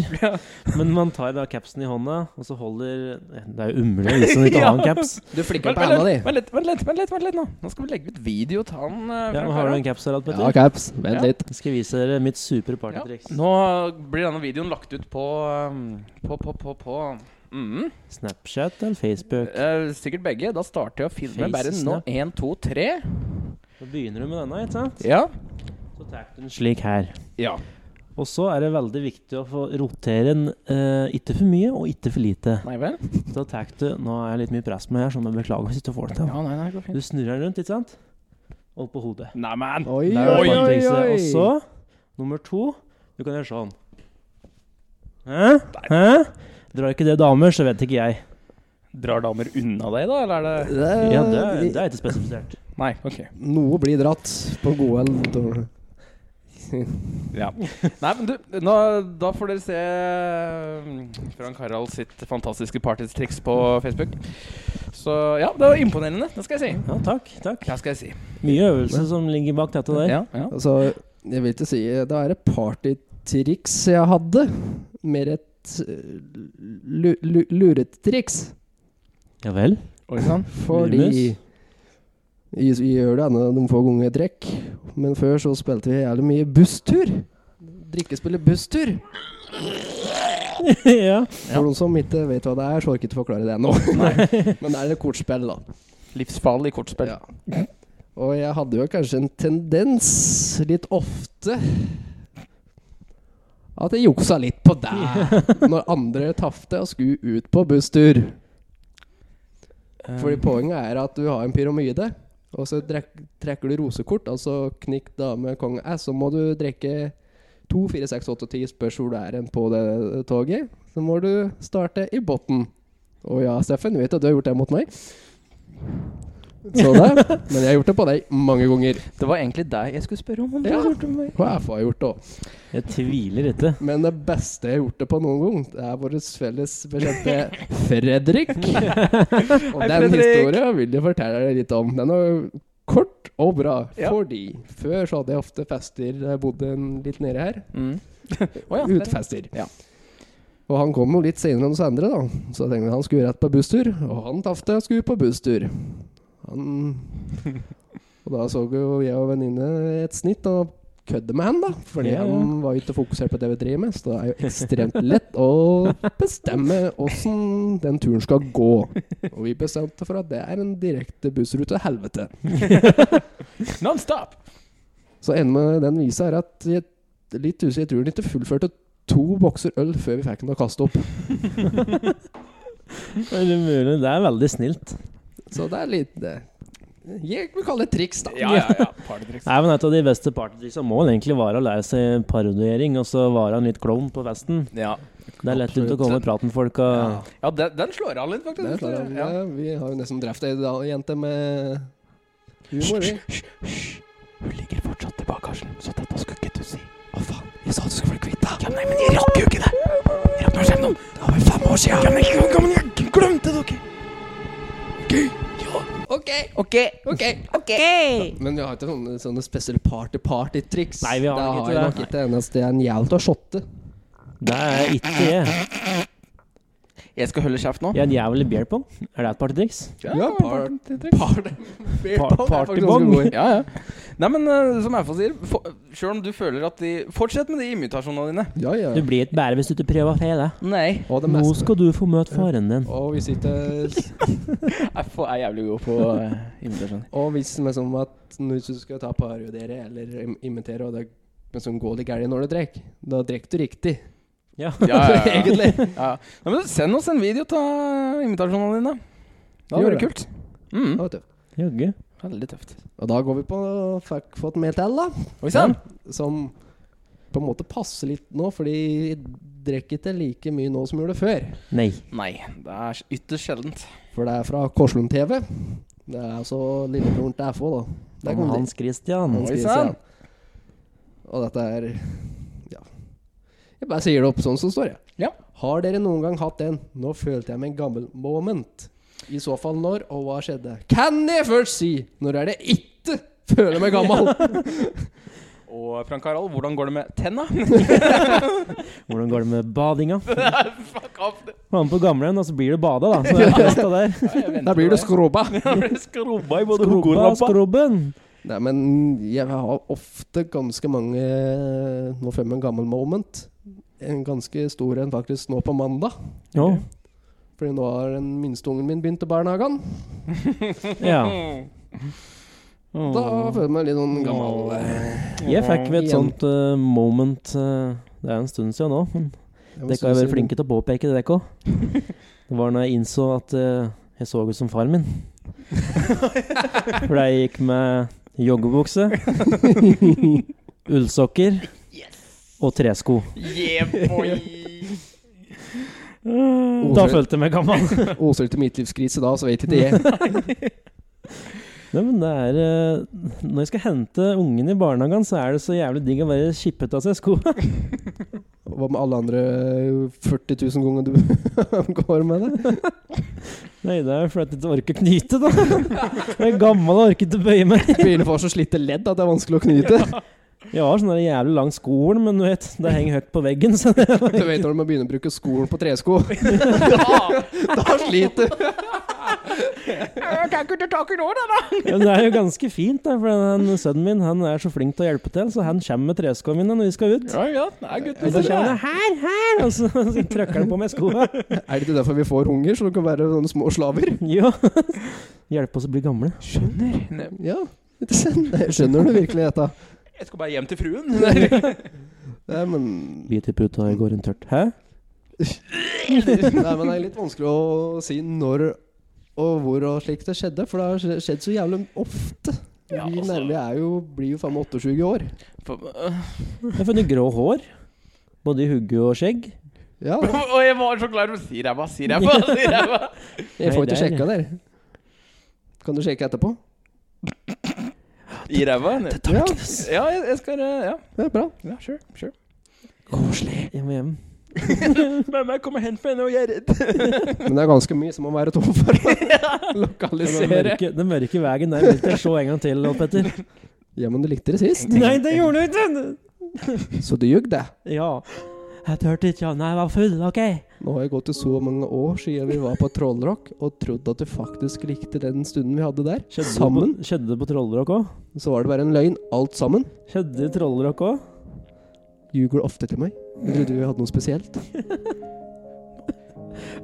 Men man tar da capsen i hånda, og så holder Det er jo umulig å vise når du *laughs* ikke har en caps. Du flikker Vent på vent henda di. litt, vent litt, vent litt, vent litt, vent litt nå. Nå skal vi legge ut video til han. eh, Ja, Frank har du Harald. en caps her, Alpetter? Ja, caps. Vent Ja. litt. Jeg skal vise dere mitt supre Ja. partytriks. Nå blir denne videoen lagt ut på um, På, på, på, på. Mm. Snapchat eller Facebook? Eh, sikkert begge. Da starter jeg å filme. Bare nå. Facesnap. Én, to, tre. Da begynner du med denne, ikke sant? Ja. Så tar du den slik her. Ja. Og så er det veldig viktig å få rotere den eh, ikke for mye og ikke for lite. Nei vel? Da tar du Nå er jeg litt mye press med her, så jeg beklager hvis du ikke får det til. Ja, nei, nei, det går fint. Du snurrer den rundt, ikke sant? Og på hodet. Nei, men Oi, Der oi, er oi, partytrikset. oi. Og så, nummer to Du kan gjøre sånn. Hæ? Hæ? Drar ikke det damer, så vet ikke jeg. Drar damer unna deg, da? Eller er det Det- Ja, Det er, det er ikke spesifisert. Nei, ok. Noe blir dratt på gode eller dårlige Ja. *laughs* Nei, men du, nå, da får dere se mm, Frank Harald sitt fantastiske partytriks på Facebook. Så ja, det var imponerende. Det skal jeg si. Ja, takk. takk Det skal jeg si. Mye øvelse som ligger bak dette der. Ja, ja. Altså, jeg vil ikke si Da er det partytriks jeg hadde. Mer et eh, lu, lu, luretriks. Ja vel. sånn. Fordi Luremus? vi, vi gjør det ennå noen få ganger i trekk. Men før så spilte vi jævlig mye busstur. Drikkespillet Busstur. *laughs* ja. For noen som ikke vet hva det er, så orker jeg ikke forklare det ennå. *laughs* Men det er et kortspill, da. Sånn. Livsfarlig kortspill. Ja. Og jeg hadde jo kanskje en tendens litt ofte at jeg juksa litt på deg når andre tapte og skulle ut på busstur. Eh, Fordi poenget er at du har en pyramide, og så drek- trekker du rosekort, altså knikk dame, konge æ, så må du drikke to, fire, seks, åtte, ti spørs hvor du er hen på det toget. Så må du starte i botten. Å ja, Steffen, vet du, du har gjort det mot meg. Så det. Men jeg har gjort det på deg mange ganger. Det var egentlig deg jeg skulle spørre om. om Ja. du hadde hørt om meg. Og jeg har gjort det òg. Jeg tviler ikke. Men det beste jeg har gjort det på noen gang, det er vår felles bekjente Fredrik. *laughs* Og Hei, den Fredrik. historien vil jeg fortelle deg litt om. Den er jo kort og bra, Ja. fordi før så hadde jeg ofte fester da jeg bodde en- litt nede her. Mm. Å ja, der- Utfester. Og han kom jo litt senere enn oss andre, da. Så jeg tenkte han skulle rett på busstur, og han tapte og skulle på busstur. Han Og da så jo jeg og venninne et snitt og kødde med han, da. Fordi Ja, ja. han var jo ikke fokusert på det vi driver med, så det er jo ekstremt lett å bestemme åssen den turen skal gå. Og vi bestemte for at det er en direkte bussrute til helvete. Nonstop! Så enden med den visa er at jeg, litt usikker, jeg tror den ikke fullførte to bokser øl før vi fikk den å kaste opp. Er det mulig? Det er veldig snilt. Så det er litt eh, det. Jeg vil kalle det triks, da. Ja, ja, ja. Partytriks. Nei, men Et av de beste partytriksene må vel egentlig være å lære seg parodiering, og så være en litt klovn på festen. Ja, Det er lett ut å komme og prate med folk og ja den, den slår an litt, faktisk. Det er klart, Ja. ja. Vi har jo nesten drept ei da- jente med humor, vi. Hun ligger fortsatt i bakgasjen, så dette skulle ikke du si. Å faen, jeg sa du skulle bli kvitt deg. Ja, nei, men jeg rakk jo ikke det. Jeg rakk meg selv nå. Det var vel fem år siden. Ja, men jeg, ja, men jeg glemte det, ok? OK! Ok, ok, ok. Men vi har ikke sånne, sånne spesielle party-party-triks. Nei, vi har det nok har ikke jeg det. nok ikke. Det eneste er en jævla til å shotte. Det er ikke det. Jeg skal holde kjeft nå. Jeg er en jævlig beer pong. Er det et partytriks? Ja, partytriks. Beer pong er faktisk partybong. ganske god. Ja, ja. Nei, men eh, som Erfa sier, for, selv om du føler at de Fortsett med de imitasjonene dine. Ja, ja. Du blir ikke bedre hvis du ikke prøver feil. det. Nei. Og det Nå meste. skal du få møte faren din. Og hvis ikke Erfa er jævlig god på eh, imitasjoner. Og hvis det er som at hvis du skal ta parodiere eller im- imitere, og det men som går litt gærent når du drikker, da drikker du riktig. Ja. Ja, ja, ja. Egentlig. Ja. Nei, men send oss en video av imitasjonene dine. Det hadde Gjør vært det. kult. Mm. Ja, vet du. Jaggu. Veldig tøft. Og da går vi på Fuck Fått med til, da. Oi sann. Som på en måte passer litt nå, fordi jeg drikker ikke like mye nå som jeg gjorde før. Nei. Nei, det er ytterst sjeldent. For det er fra Korslund TV. Det er altså lillebroren til FH, da. Det er Han Hans Christian. Oi, Hans sann. Christian. Og dette er Ja. Jeg bare sier det opp sånn som det står, jeg. Ja. Har dere noen gang hatt en 'nå følte jeg meg en gammel moment'? I så fall når, og hva skjedde? Kan jeg først si når er det ikke føler meg *laughs* gammel? Og Frank Harald, hvordan går det med *laughs* tenna? Hvordan går det med badinga? Fuck off! det- Han på gamlehjem, og så blir det bada, *laughs* da. Så det er fest av der. Ja, jeg venter Da blir på du skrubba. *laughs* Jeg ble skrubba i både hugg og Skrubba, rabba. skrubben. Nei, men jeg har ofte ganske mange Nå føler jeg meg en gammel moment. En ganske stor en faktisk nå på mandag. Jo. Fordi nå har den minste ungen min begynt i barnehagen. *laughs* Ja. Da føler jeg meg litt sånn gammel. Jeg fikk ved et Igjen. sånt eh, moment eh, Det er en stund siden nå, men Mm. dere har jo vært flinke til å påpeke det, dere òg. *laughs* Det var når jeg innså at eh, jeg så ut som faren min. *laughs* For jeg gikk med *laughs* joggebukse, ullsokker og tresko. Yeah, boy! Da følte jeg meg gammel. *laughs* *laughs* Oser til midtlivskrise da, så vet ikke jeg. Nei, men det er eh, Når jeg skal hente ungen i barnehagen, så er det så jævlig digg å være skippet av seg skoa. Hva med alle andre eh, 40 000 ganger du *laughs* går med det? *laughs* Nei, det er jo fordi jeg ikke orker knyte, da. *laughs* Jeg er gammel og orker ikke bøye meg. Biler får så slitte ledd at det er vanskelig å *laughs* knyte. Jeg har sånn der jævlig lang skolen, men du vet, det henger høyt på veggen. Så det *laughs* Du vet når du må begynne å bruke skolen på *laughs* tresko. Da sliter du. Ja, men det er jo ganske fint, da, for den sønnen min han er så flink til å hjelpe til, så han kommer med treskoene mine når vi skal ut. Ja, ja, det er gutten Og så sin, kommer det. han her, her, og så, *laughs* så trykker han på meg *laughs* skoa. Er det ikke derfor vi får unger, så du kan være sånne små slaver? Jo. Hjelpe oss å bli gamle. Skjønner. Ne- Ja, skjønner skjønner du virkelig *laughs* dette? Jeg skal bare hjem til fruen. Der. Nei, men Hvite puta jeg går rundt tørt. Hæ? Nei, men det er litt vanskelig å si når og hvor og slik det skjedde, for det har skje- skjedd så jævlig ofte. Vi Ja, altså. nærmere er jo, blir jo faen meg 28 i år. *laughs* For, øh, Jeg har funnet grå hår. Både i hugge og skjegg. Ja, og jeg var så klar til å si ræva, si ræva, si *laughs* ræva. jeg får Nei, ikke det er- sjekka der. Kan du sjekke etterpå? I ræva. Ja, Ja, jeg, jeg skal øh, Ja, det er bra. ja sure. sure. Koselig. Jeg må hjem. Mamma, kom og hent meg nå, jeg er redd. Men det er ganske mye som må være tom for *laughs* å Den lokalisere. mørke, den mørke veien der vil jeg se en gang til, Opp Petter. Ja, men du likte det sist, *laughs* Nei, det gjorde du ikke! så du ljug, det. Ja. Jeg turte ikke, ja. Nei, jeg var full, OK? Nå har jeg gått i så mange år siden vi var på Trollrock, og trodd at du faktisk likte den stunden vi hadde der. Skjedde det Sammen. På, skjedde det på Trollrock òg? Så var det bare en løgn, alt sammen. Skjedde det i Trollrock òg? Ljuger du ofte til meg? Jeg trodde vi hadde noe spesielt.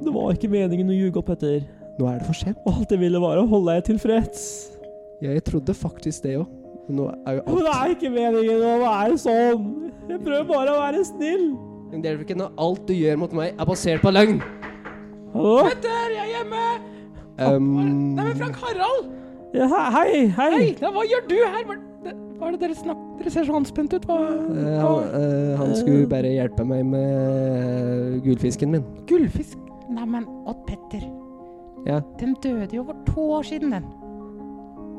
Det var ikke meningen å ljuge opp etter. Nå er det for sent. Og alt jeg ville, var å holde deg tilfreds. Jeg trodde faktisk det òg. Men nå er jo Men det alt er ikke meningen å være sånn. Jeg prøver bare å være snill. Men det er vel ikke når alt du gjør mot meg, er basert på løgn. Hallo? Der, jeg er hjemme! Um, Nei, men Frank Harald! Ja, he- hei, hei. Hei, nei, hva gjør du her? Hva hva er det dere snakker Dere ser så anspent ut. Hva, eh, hva? han, eh, han skulle bare hjelpe meg med eh, gullfisken min. Gullfisk? Neimen, Odd Petter. Ja. Den døde jo for to år siden, den.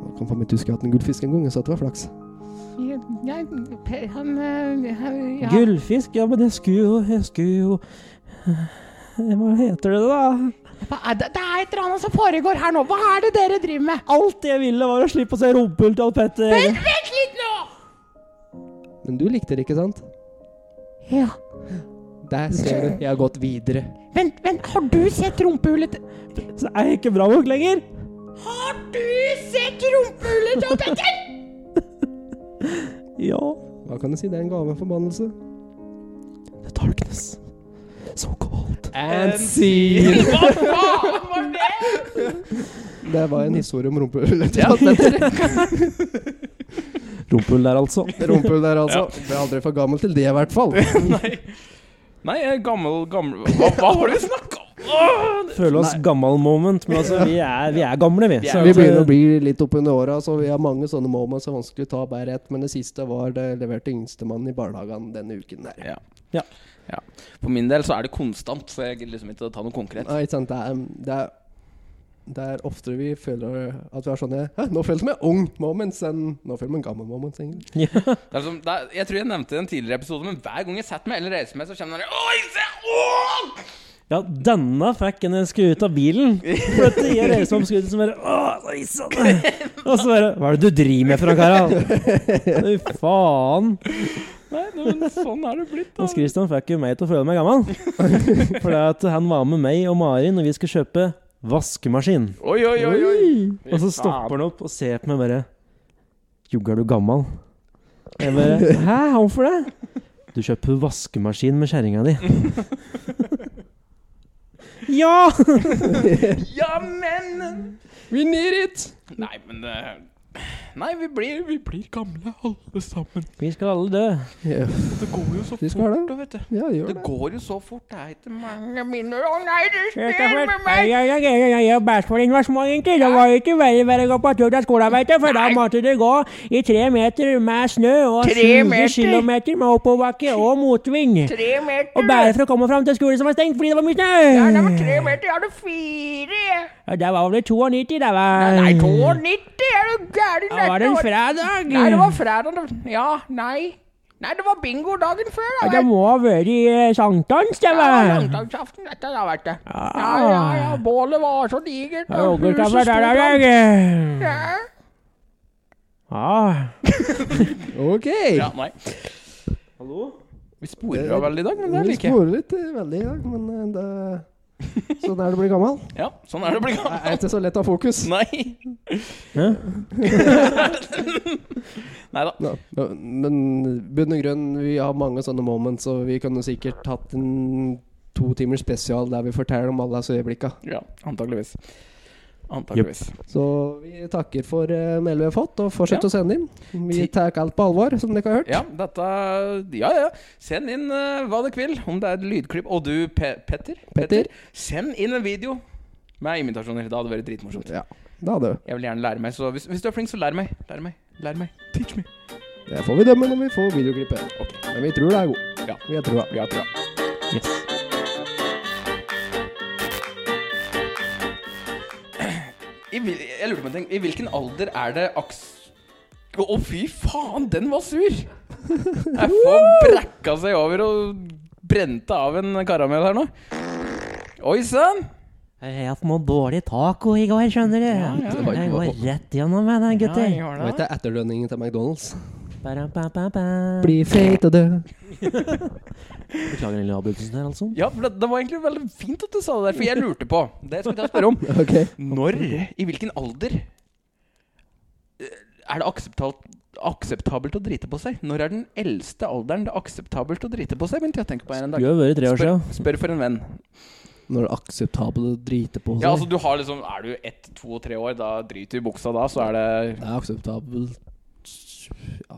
Jeg kan få mitt huske jeg har hatt en gullfisk en gang, så det var flaks. Jeg, jeg, Pe- han eh, han- ja. Gullfisk? Ja, men jeg skulle jo Jeg skulle jo Hva heter det, da? Hva er Det det er et eller annet som foregår her nå. Hva er det dere driver med? Alt jeg ville, var å slippe å se rumpehull til Petter. Vent litt nå! Men du likte det, ikke sant? Ja. Der ser du. Jeg har gått videre. Vent, vent. Har du sett rumpehullet til Så er jeg ikke bra nok lenger. Har du sett rumpehullet til Odd Petter? Ja. Hva kan jeg si? Det er en gave og en forbannelse. The darkness. So cold. And see! Hva faen var det? Det var *laughs* en historie om rumpehullet. Ja. Rumpehull der, altså. Rumpehull der, altså. Ble aldri for gammel til det, i hvert *laughs* fall. Nei, Nei jeg er gammel, gammel Hva, hva var det vi snakka om? Åh, det- Føle oss gammel moment, men altså, vi er, vi er gamle, vi. Vi er- Så Vi at, eh, begynner å bli litt oppunder åra, så vi har mange sånne moments. Det er vanskelig å ta bare ett. Men det siste var det leverte yngstemann i barnehagen denne uken der. For min del så er det konstant, så jeg gidder liksom ikke å ta noe konkret. Nei, ikke sant. Det er, det er det er oftere vi føler at vi har sånne Hæ, nå følte jeg meg ung moments enn nå føler jeg meg gammel moments. egentlig. Det er som, det er, jeg tror jeg nevnte det i en tidligere episode, men hver gang jeg setter meg eller reiser meg, så kommer det der, Åh, jeg ser- åh! Ja, denne fikk en jeg skulle ut av bilen. For at jeg reiser meg om skrittet som bare Åh, oi sann! Og så bare Hva er det du driver med, Frank Harald? Fy faen. Nei, nei, men sånn er det blitt, da. Hans Christian fikk jo meg til å føle meg gammel. For det at han var med meg og Mari når vi skulle kjøpe vaskemaskin. Oi, oi, oi. oi. Og så stopper han opp og ser på meg bare Jogga, er du gammal? *laughs* Jeg bare Hæ, hvorfor det? Du kjøper vaskemaskin med kjerringa di. *laughs* Ja! Ja, men We need it! Nei, men eh, Nei, vi blir, vi blir gamle alle sammen. Vi skal alle dø. Ja, Det går jo så Vi fort, skal det. da, vet du. ja gjør Det det. går jo så fort. Det er ikke mange Å nei, du Jeg spiller med meg! bæsjforening var små, egentlig. Det var ikke veldig bare å gå på tur til skolen, vet du, for da måtte du gå i tre meter med snø og Tre 20 meter? kilometer med oppoverbakke og motvind. Tre meter! Og bare Mm. for å komme fram til skolen som var stengt fordi det var mye Ja, det var snø. tre meter, jeg hadde fire! jeg. Ja, det var vel 92, det var. Nei, 92, er du gæren? Da var det en Dette fredag. Nei, det var fredag. det- Ja, nei. Nei, det var bingo dagen før. Ja, Da. det må ha vært i eh, sankthans, det Ja, var. langdagsaften, dette da, vet du. Ja, Ah. ja, ja, bålet var så digert. Ja, Roger huset skal være der, stod da, da. jeg. Ja. Ja. Ok! Ja, nei. Hallo? Vi sporer av veldig i dag, men det vi liker jeg. sporer litt eh, veldig i dag, men eh, det, sånn er det å bli *laughs* gammel. Ja, sånn er det å bli *laughs* Det gammel. er ikke så lett å ha fokus. Nei. *laughs* Hæ? Nei da. Ja, ja, men bunn og grunn, vi har mange sånne moments, og vi kunne sikkert hatt en to timer spesial der vi forteller om alles øyeblikka. Ja, antakeligvis. Antakeligvis. Så vi takker for eh, meldingen vi har fått, og fortsett Ja. å sende inn. Vi tar alt på alvor, som dere har hørt. Ja, dette Ja, ja. Send inn eh, hva dere vil. Om det er lydklipp. Og du, Pe Petter? Petter? Send inn en video med imitasjoner. Det hadde vært dritmorsomt. Ja, da hadde Jeg vil gjerne lære meg, så hvis, hvis du er flink, så lær meg. Lær meg. Lær meg. Teach me. Det får vi dømme når vi får videoklippet. Men vi tror det er god. Ja. Vi har trua. Ja, tror jeg. Yes. I, hvil- jeg lurte på en ting. I hvilken alder er det aks... Å, fy faen, den var sur! Jeg får brekka seg over og brente av en karamell her nå. Oi sann! Jeg hatt noe dårlig taco i går, skjønner du. det var- Jeg går rett gjennom med den, gutter. Det var ikke etterlønningen til McDonald's. Ba-dam, ba, ba, ba. Bli feit og død. Beklager den lille avbrytelsen der, altså. Ja, for det, det var egentlig veldig fint at du sa det der, for jeg lurte på Det skulle jeg til å spørre om. *laughs* Ok. Når, i hvilken alder, eh, er det akseptalt, akseptabelt å drite på seg? Når er den eldste alderen det er akseptabelt å drite på seg? begynte jeg å tenke på her en dag. Du har vært tre år Spør, siden. spør for en venn. Når det er akseptabelt å drite på seg. Ja, altså du har liksom Er du ett, to og tre år, da driter du i buksa da, så er det Det er akseptabelt Ja,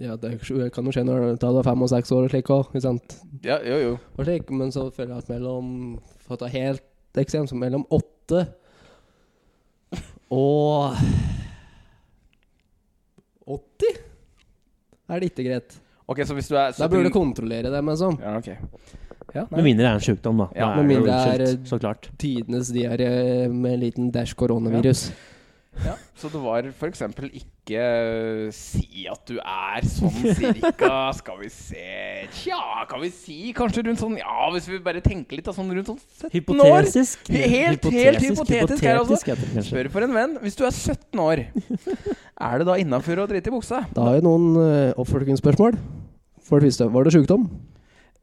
ja det, er jo- det kan jo skje når du er fem og seks år og slik òg, ikke sant. Ja, jo, jo. Og slik, men så føler jeg at mellom For å ta helt ekstremt, så mellom åtte og 80 er det ikke greit. Ok, så hvis du er Da burde du kontrollere dem, liksom. Ja, ok. Ja, Med nei. mindre det er en sjukdom, da. Ja, med da er det jo mindre det er- unnskyldt, Så klart. Tidenes diaré med en liten dash koronavirus. Ja. Så det var for eksempel ikke eh, Si at du er sånn cirka Skal vi se Tja, kan vi si kanskje rundt sånn Ja, hvis vi bare tenker litt da, sånn rundt sånn 17 år. Hypotetisk. Helt- helt hypotetisk her, altså. Hypotetisk heter det kanskje. Spør for en venn. Hvis du er 17 år, *laughs* er det da innafor å drite i buksa? Da har jeg noen uh, oppfølgingsspørsmål. For det første, var det sjukdom?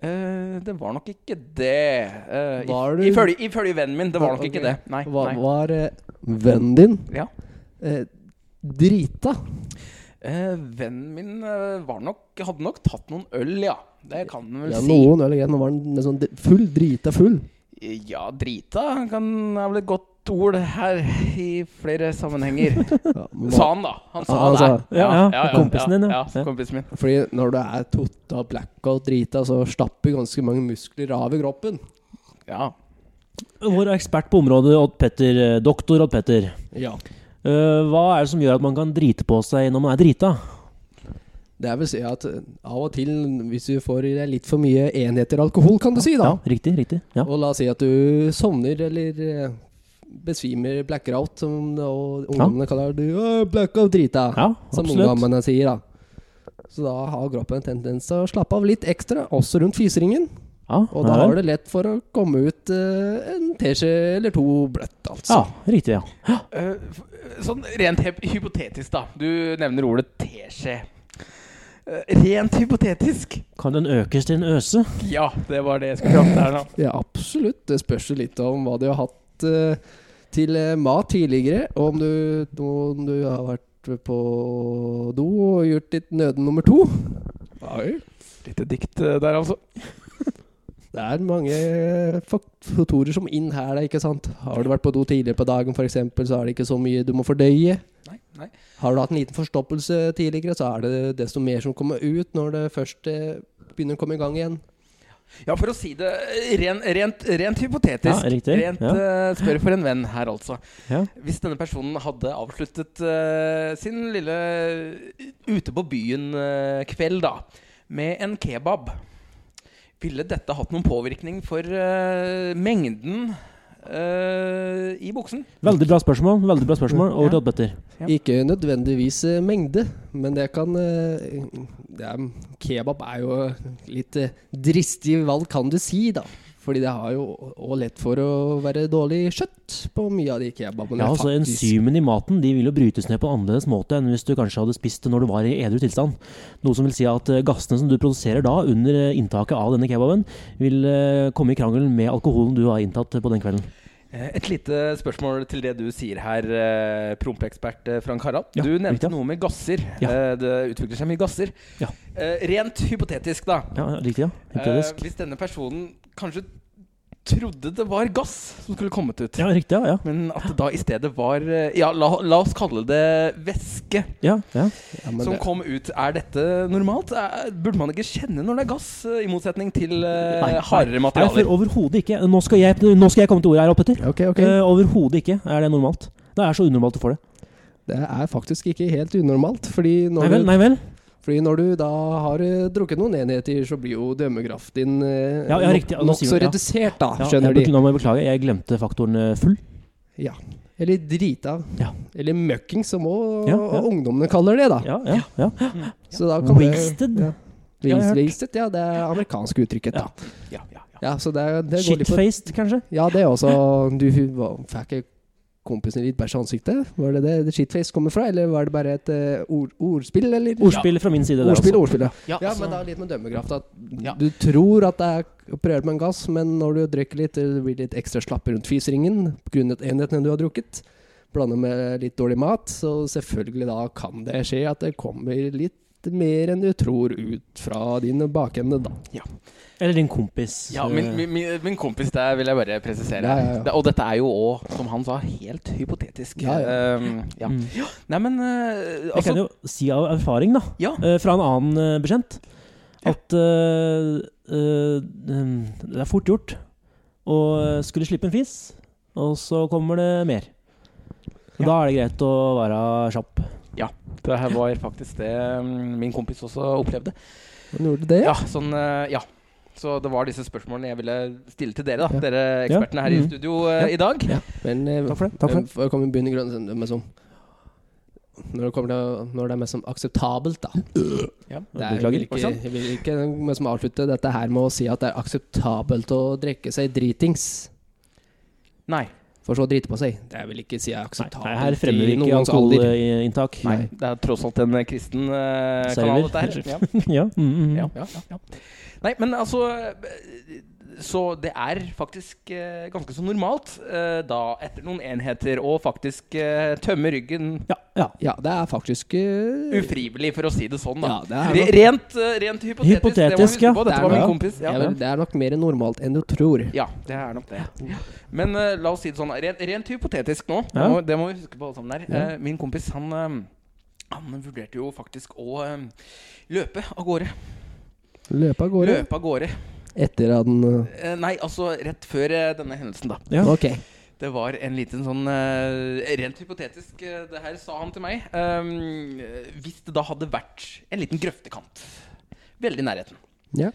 Eh, det var nok ikke det. Uh, Var du- ifølge, ifølge vennen min, det var nok Ok. ikke det. Nei. Hva, nei. var eh, vennen din Ja. eh, drita? Eh, vennen min eh, var nok, hadde nok tatt noen øl, ja. Det kan en vel Ja, si. noen eller en var den sånn dri- full, drita *laughs* full. Ja, drita kan, er vel et godt ord her i *laughs* flere sammenhenger. Ja, men hva- sa han, da. Han sa Ja, han det. sa- Ja, ja, kompisen din, ja. ja. ja kompisen min. Fordi når du er totta blackout drita, så stapper ganske mange muskler av i kroppen. Ja. Vår ekspert på området, Odd Petter, eh, doktor Odd Petter. Ja. Eh, hva er det som gjør at man kan drite på seg når man er drita? Det vil si at eh, av og til, hvis du får i deg litt for mye enheter alkohol, kan du si, da. Ja, riktig. riktig ja. Og la oss si at du sovner eller eh, besvimer blackout, som det- og ungdommene kaller det. «Å, Blackout drita, ja, som absolutt. ungdommene sier, da. Så da har kroppen en tendens til å slappe av litt ekstra, også rundt fiseringen. Ja, Og da har du lett for å komme ut eh, en teskje eller to bløtt, altså. Ja, riktig, ja. Eh, f- sånn rent hep- hypotetisk, da. Du nevner ordet teskje. Eh, rent hypotetisk. Kan den økes til en øse? Ja, det var det jeg skulle fram til her nå. Ja, absolutt. Det spørs jo litt om hva du har hatt eh, til eh, mat tidligere, og om du, om du har vært på do og gjort litt nøden nummer to. Oi. Lite dikt eh, der, altså. Det er mange faktorer som inn her, da, ikke sant. Har du vært på do tidligere på dagen f.eks., så er det ikke så mye du må fordøye. Nei, Nei. Har du hatt en liten forstoppelse tidligere, så er det desto mer som kommer ut når det først eh, begynner å komme i gang igjen. Ja, for å si det eh, ren, rent, rent hypotetisk. Ja, riktig, Rent ja. eh, spør for en venn her, altså. Ja. Hvis denne personen hadde avsluttet eh, sin lille eh, ute på byen-kveld, da, med en kebab, ville dette hatt noen påvirkning for eh, mengden eh, i buksen? Veldig bra spørsmål. veldig bra spørsmål Over til Oddbetter. Ja. Ikke nødvendigvis eh, mengde, men det kan eh, det er, Kebab er jo litt eh, dristig valg, kan du si, da. Fordi det har jo òg lett for å være dårlig kjøtt på mye av de kebabene. Ja, altså faktisk. Enzymene i maten de vil jo brytes ned på en annerledes måte enn hvis du kanskje hadde spist det når du var i edru tilstand. Noe som vil si at eh, gassene som du produserer da under eh, inntaket av denne kebaben, vil eh, komme i krangel med alkoholen du har inntatt eh, på den kvelden. Eh, Et lite spørsmål til det du sier her, eh, prompeekspert eh, Frank Harald. Ja, du nevnte riktig. noe med gasser. Ja. Eh, Det utvikler seg mye gasser. Ja. Eh, Rent hypotetisk, da. Ja, riktig, ja. Hypotetisk. Eh, hvis denne personen kanskje trodde det var gass som skulle kommet ut, Ja, riktig, ja. men at det da i stedet var eh, Ja, la, la oss kalle det væske Ja, ja. Ja, men som det- kom ut. Er dette normalt? Er, burde man ikke kjenne når det er gass, eh, i motsetning til eh, Nei, nei. hardere Nei, for materialer? overhodet ikke. Nå skal, jeg, nå skal jeg komme til ordet her, Oppetter. Ok, ok. Eh, overhodet ikke er det normalt. Det er så unormalt du får det. Det er faktisk ikke helt unormalt. Fordi når, Nei vel, nei vel. Du, fordi når du da har eh, drukket noen enheter, så blir jo dømmegraft din eh, Ja, ja, nok- riktig, ja, du nokså sier det, ja. redusert, da, Ja, jeg Ah, skjønner bekl- de. Nå må jeg beklage, jeg glemte faktoren eh, full. Ja. Eller drita. Ja. Eller møkking, som òg Ja, ja. ungdommene kaller det, da. Ja, ja, ja. Så da kan Wasted. Det, ja. har jeg hørt. Wasted, ja. Det er amerikansk uttrykket. da. Ja, ja, ja. Ja, så det, det går litt på Shitfaced, kanskje. Ja, det er også Du hva- fikk ikke kompisen din bæsj i ansiktet? Var det det shitface kommer fra, eller var det bare et eh, ord, ordspill, eller? Ordspill fra min side. der Ordspill, også. ordspill, ja. Ja, Ja, altså- men det er litt med dømmekraft. At Ja. du tror at det er operert med en gass, men når du drikker litt, det blir litt ekstra slapp rundt fiseringen grunnet enhetene du har drukket. Blander med litt dårlig mat, så selvfølgelig da kan det skje at det kommer litt mer enn du tror ut fra din bakende, da. Eller din kompis. Eh, Ja, min, min- min, min kompis der vil jeg bare presisere. Ja, ja, ja. Det- Og dette er jo òg, som han sa, helt hypotetisk. Ja, ja. Um, ja. Mm. Nei, men eh, Jeg altså kan jo si av erfaring, da, Ja. eh, fra en annen eh, bekjent, at eh, eh, det er fort gjort å skulle slippe en fis, og så kommer det mer. Og Da er det greit å være kjapp. Det her var faktisk det um, min kompis også opplevde. Men gjorde det? Ja, sånn, eh, ja. Så det var disse spørsmålene jeg ville stille til dere, da. Ja. Mm. Dere ekspertene her i Mhm. studio eh, i dag. Men eh, Takk for det. Takk for det. for å komme i bunn i grunn, det er mest som når det, kommer til, når det er mest som akseptabelt, da. Det er, jeg, vil Beklager. ikke, jeg vil ikke men som avslutte dette her med å si at det er akseptabelt å drikke seg dritings. Nei. For så å drite på seg. Det vil ikke si er Nei, akseptabelt. nei, her fremmer vi i ikke eh. noens alder. alkoholinntak. Nei. Det er tross alt en eh, kristen eh, Mm. kanal, Server. *laughs* dette her. Ja. *laughs* ja, mm, mm. Ja, ja, ja. Nei, men altså eh, Så det er faktisk eh, ganske så normalt eh, da, etter noen enheter, å faktisk eh, tømme ryggen ja, ja. Ja, det er faktisk eh, ufrivillig, for å si det sånn, da. Ja, det er Re- nok, Rent, eh, rent hypotetisk, det må vi Hypotetisk, huske ja. på. Det Dette er var min nok- kompis. Ja, jeg vil- det er nok mer normalt enn du tror. ja, det er nok det. Men eh, la oss si det sånn, rent, rent hypotetisk nå, det Ja. må- det må vi huske på alle sammen der. Eh, min kompis, han eh, han vurderte jo faktisk å eh, løpe av gårde. Løpe av gårde. Løpe av gårde. Etter at den eh, Eh, nei, altså rett før eh, denne hendelsen, da. Ja. Ok. Det var en liten sånn eh, Rent hypotetisk, eh, det her sa han til meg. Ehm, eh, hvis det da hadde vært en liten grøftekant. Veldig i nærheten. Ja.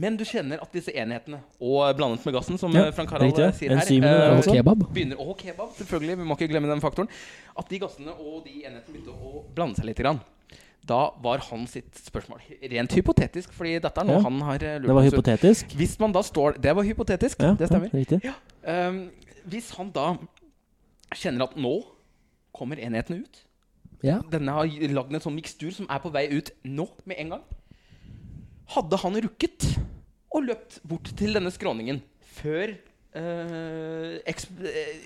Men du kjenner at disse enhetene, og blandet med gassen, som Ja, eh, Frank Harald riktig, ja. sier her Enzymene eh, der Og også. kebab. Begynner, og kebab, selvfølgelig. Vi må ikke glemme den faktoren. At de gassene og de enhetene begynte å blande seg litt. Grann. Da var han sitt spørsmål rent hypotetisk, fordi dette er noe Ja. han har eh, lurt Det var på. hypotetisk. Hvis man da står Det var hypotetisk, Ja, det stemmer. Ja, riktig. Ehm, hvis han da kjenner at nå kommer enhetene ut Ja. Denne har lagd en sånn mikstur som er på vei ut nå med en gang. Hadde han rukket og løpt bort til denne skråningen før eh, eksp- eh,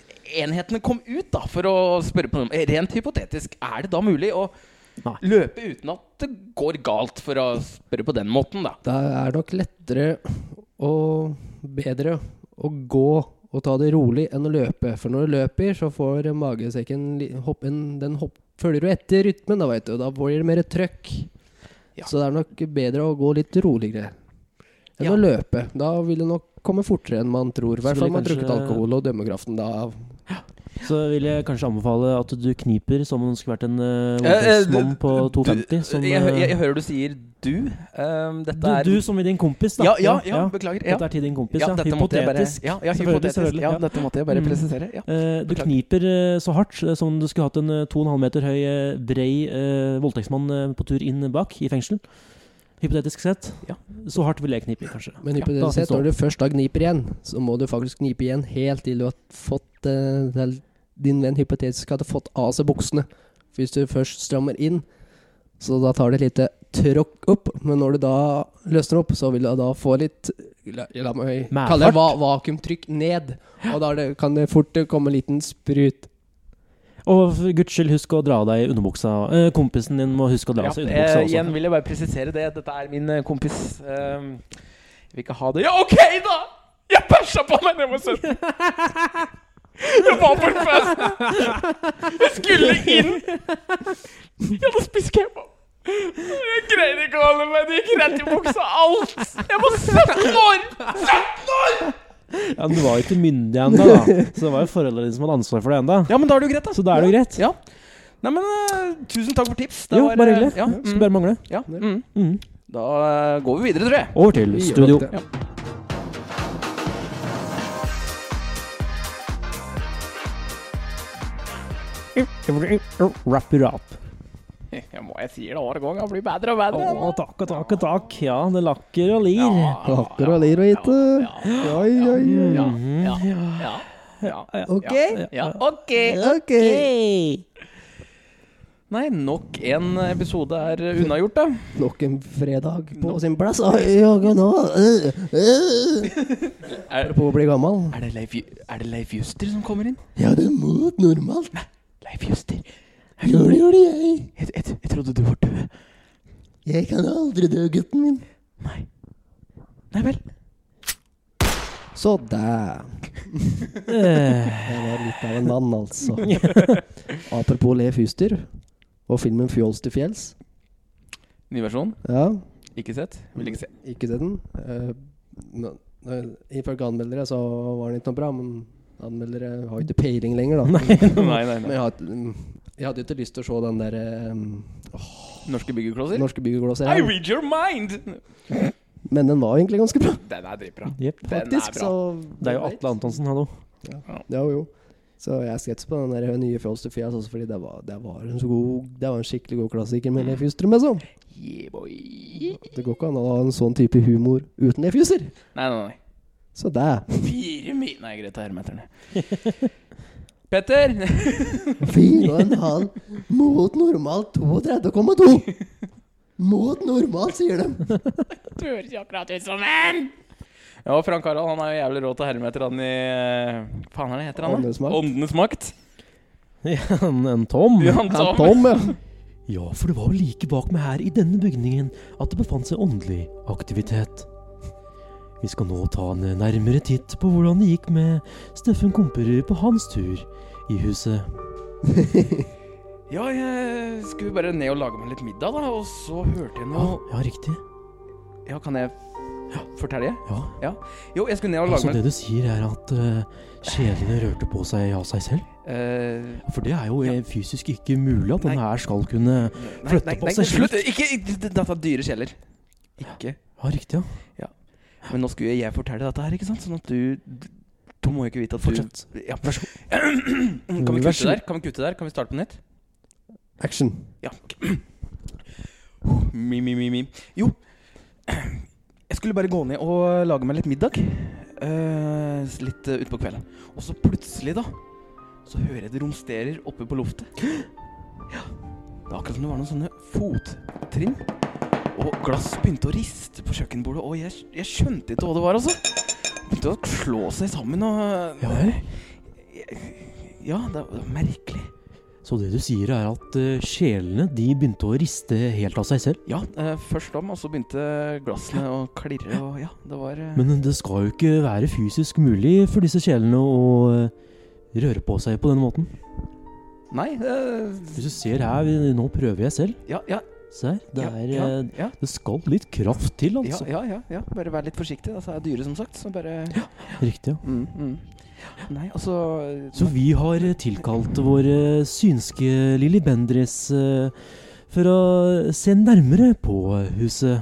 enhetene kom ut, da, for å spørre på noe Eh, rent hypotetisk, er det da mulig å Nei. løpe uten at det går galt, for å spørre på den måten, da? Da er det nok lettere og bedre å gå og ta det rolig enn å løpe. For når du løper, så får magesekken li- hopp- en- Den hopp- følger du etter rytmen, da, vet du. og Da blir det mer trøkk. Ja. Så det er nok bedre å gå litt roligere enn Ja. å løpe. Da vil det nok komme fortere enn man tror. I Så hvert fall vil om man har kanskje- drukket alkohol og dømmekraften da. Så vil jeg kanskje anbefale at du kniper som om det skulle vært en uh, Eh, eh, du- voldtektsmann du- på 250. Som, jeg, hø- eh, jeg, jeg hører du sier du. Ehm, dette du, er du som er din kompis, da. ja, ja, ja, beklager. Ja. Dette er til din kompis, ja. Ja, dette måtte jeg bare- Hypotetisk. Ja, ja, Selvfølgelig, hypotetisk. selvfølgelig, Ja, ja. dette måtte jeg bare Mm. presisere. Ja. Eh, du Beklager. kniper eh, så hardt eh, som om du skulle hatt en eh, 2,5 meter høy, eh, brei eh, voldtektsmann eh, på tur inn bak i fengsel. Hypotetisk sett. Ja. Så hardt ville jeg knipe, kanskje. Men Ja, da hypotetisk synes sett, jeg når du først da kniper igjen, så må du faktisk knipe igjen helt til du har fått eh, til Din venn hypotetisk hadde fått av seg buksene. For Hvis du først strammer inn, så da tar det et lite tråkk opp. Men når du da løsner opp, så vil du da få litt La, la meg Medfart. kalle det va vakuumtrykk ned. Og da er det, kan det fort eh, komme en liten sprut. Og for guds skyld, husk å dra av deg underbuksa. Eh, kompisen din må huske å dra Ja, av seg underbuksa eh, igjen også. vil jeg bare presisere det. Dette er min eh, kompis. Ehm, jeg vil ikke ha det Ja, OK, da! Jeg bæsja på meg da jeg var 17! Jeg var på en fest! Jeg skulle inn! Jeg hadde spist kebab. Jeg greide ikke å holde meg. Det gikk rett i buksa. Alt! Jeg var 17 år! Ja, men du var jo ikke myndig ennå, da. Så det var jo foreldrene dine som hadde ansvar for det ennå. Ja, men da er det jo greit, da. Så da er det jo greit. Ja. Nei, men eh, tusen takk for tips. Det jo, var, bare eh, hyggelig. Ja, Skulle bare mangle. ja, mm. Mm. Da eh, går vi videre, tror *laughs* jeg. Over til Vi gjør studio. nok det. Wrap it up. Jeg må jeg sier det hver gang. Jeg blir bedre og bedre. Å, takk og takk og takk. Ja, det lakker og lir. Lakker og eh. lir og ikke. Oi, oi, oi. Ja, ja, ja, ja, ja, Ok. ja. Ok. Ok. Nei, nok en episode er unnagjort, da. Nok en fredag på sin plass. Oi, oi, nå. Øh, øh. Er, På å bli gammel. er, det Leif, Ju- er det Leif Juster som kommer inn? Ja, det må normalt. Leif Juster. Gjør det, gjør det, jeg. Jeg, jeg, jeg trodde du var død. Jeg kan aldri dø, gutten min. Nei. Nei vel. Så der. *laughs* Eh, Jeg var litt av en mann, *laughs* altså. Apropos Leif Huster og filmen 'Fjols til fjells'. Ny versjon. Ja, Ikke sett. Vil ikke se. *laughs* ikke se den. Eh, nå- nå- Ifølge anmeldere så var den ikke noe bra, men anmeldere har jo ikke peiling lenger, da. Nei, nei, Men nei. jeg hadde, mm, jeg hadde jo ikke lyst til å se den der eh, Norske byggeklosser. norske byggeglåser I her. read your mind! Men den var egentlig ganske bra, Den er dritbra. jepp. Den er faktisk. bra. Så Det er jo Atle Antonsen, hallo. *laughs* Ja, jo. Så jeg er skeptisk på den der eh, nye Fjols til fjells også, fordi det var, det var en så god Det var en skikkelig god klassiker med Leif Juster med sånn. Yeah, boy. Det går ikke an å ha en sånn type humor uten Leif Juster. Nei, nei, nei. Så det. Fire mil... Nei, greit, ta hermeterne. *laughs* Petter! Fire og en halv mot normalt 32,2. Mot normalt, sier de. Du høres jo akkurat ut som en! Ja, Frank Harald han er jo jævlig rå til hermeter, han i eh, Faen, hva heter han? da? Åndenes makt. Åndenes makt. En, en Tom. Ja, han Ja, Tom. Tom, ja. Ja, for det var jo like bak meg her i denne bygningen at det befant seg åndelig aktivitet. Vi skal nå ta en nærmere titt på hvordan det gikk med Steffen Komperud på hans tur i huset. Ja, jeg skulle bare ned og lage meg litt middag, da, og så hørte jeg Ja, noe ja riktig. Ja, kan jeg fortelle? det? Ja, Jo, jeg skulle ned og lage altså meg det du sier er at eh, kjelene rørte på seg av seg selv? Eh, For det er jo eh, fysisk ikke mulig at denne her skal kunne Nei, Flytte nei, på nei, seg slutt! Ikke ikke- Dette er dyre kjeller. Ikke. Ja, riktig, ja. Men nå skulle jeg fortelle dette her, ikke sant? Sånn at du Du må jo ikke vite at du Fortsett. Ja, vær så god. *clears throat* Kan vi Vær kutte så god. der? Kan vi kutte der? Kan vi starte på nytt? Action. Ja, ok. Mi, mi, mi, mi. Jo, jeg skulle bare gå ned og lage meg litt middag. eh, s- litt eh, utpå kvelden. Og så plutselig, da, så hører jeg det romsterer oppe på loftet. Ja, det er akkurat som det var noen sånne fottrinn. Og glass begynte å riste på kjøkkenbordet, og jeg, jeg skjønte ikke hva det var, altså. Begynte å slå seg sammen og Ja vel. Ja, det var merkelig. Så det du sier er at eh, sjelene de begynte å riste helt av seg selv? Ja, eh, først om, og så begynte glassene å klirre, og ja, det var eh, Men det skal jo ikke være fysisk mulig for disse sjelene å eh, røre på seg på den måten. Nei eh, Hvis du ser her, vi- nå prøver jeg selv. Ja, ja. Se her. Det, ja, er, ja, eh, ja, det skal litt kraft til, Sånn ja, altså. ja, ja, ja. Bare vær litt forsiktig. Altså, det er dyre, som sagt. Så bare Riktig, ja. mm, mm. Nei, altså Så vi har eh, tilkalt våre synske Lilly Bendriss eh, for å se nærmere på huset.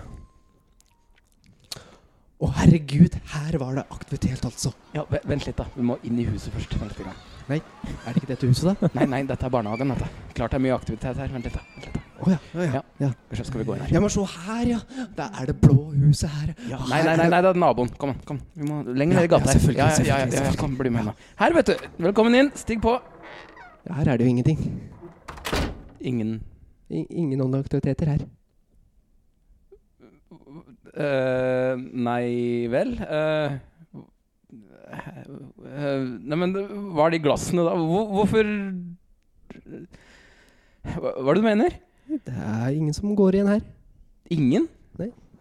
Å, herregud, her var det aktivitet, altså. ja, ve- Vent litt, da. Vi må inn i huset først. Vent litt. grann. Er det ikke dette huset, da? Nei, nei, dette er barnehagen. Dette. Klart det er mye aktivitet her. Vent litt, da. Vent litt, da. Å ja, ja, ja. ja. Kanskje skal vi gå inn her. Jeg må se her, ja. Der er det blå huset her. Ja, nei, nei, nei, nei, det er naboen. Kom, kom. Vi må lenger ned i Ja, gata ja, her. selvfølgelig, Ja, ja, ja, selvfølgelig, ja, ja, selvfølgelig. kom, bli med nå. Her, vet du. Velkommen inn. Stig på. Ja, her er det jo ingenting. Ingen I, ingen andre aktiviteter her. Eh, nei vel eh, eh, Nei, men det- hva er de glassene, da? Hvor, hvorfor hva, hva er det du mener? Det er ingen som går igjen her. Ingen?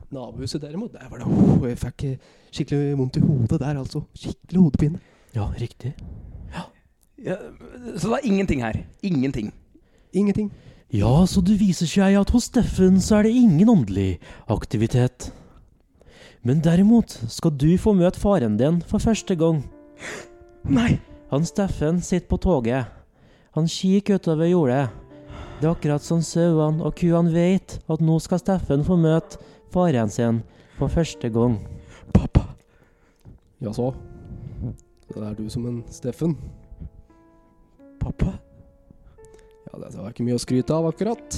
Nabohuset derimot, der var det oh, Jeg fikk eh, skikkelig vondt i hodet der, altså. Skikkelig hodepine. Ja, riktig. Ja, så det er ingenting her? Ingenting. Ingenting. Ja, så det viser seg at hos Steffen så er det ingen åndelig aktivitet. Men derimot skal du få møte faren din for første gang. Nei! Han Steffen sitter på toget. Han kikker utover jordet. Det er akkurat som sauene og kuene vet at nå skal Steffen få møte faren sin for første gang. Pappa. Jaså? Så det er du som en Steffen? Pappa? Ja, det var ikke mye å skryte av, akkurat.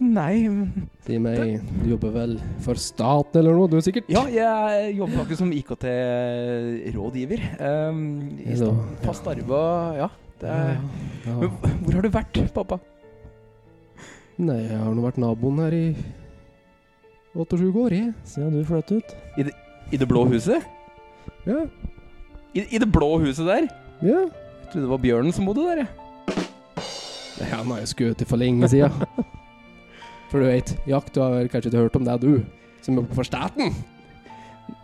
Nei men- Si meg, du jobber vel for staten eller noe, du sikkert? Ja, jeg jobber faktisk som IKT-rådgiver. Um, i Hello. sta- fast arbeid, ja. Det Ja, er. ja. Men hvor har du vært, pappa? Nei, jeg har nå vært naboen her i 28 år, jeg. Siden du fløt ut. I det blå huset? Ja, I, i det blå huset der? ja. Jeg trodde det var bjørnen som bodde der, jeg. Nei, han har jeg skutt for lenge siden. For du vet, jakt, du har vel kanskje ikke hørt om det, du, som jobber for staten?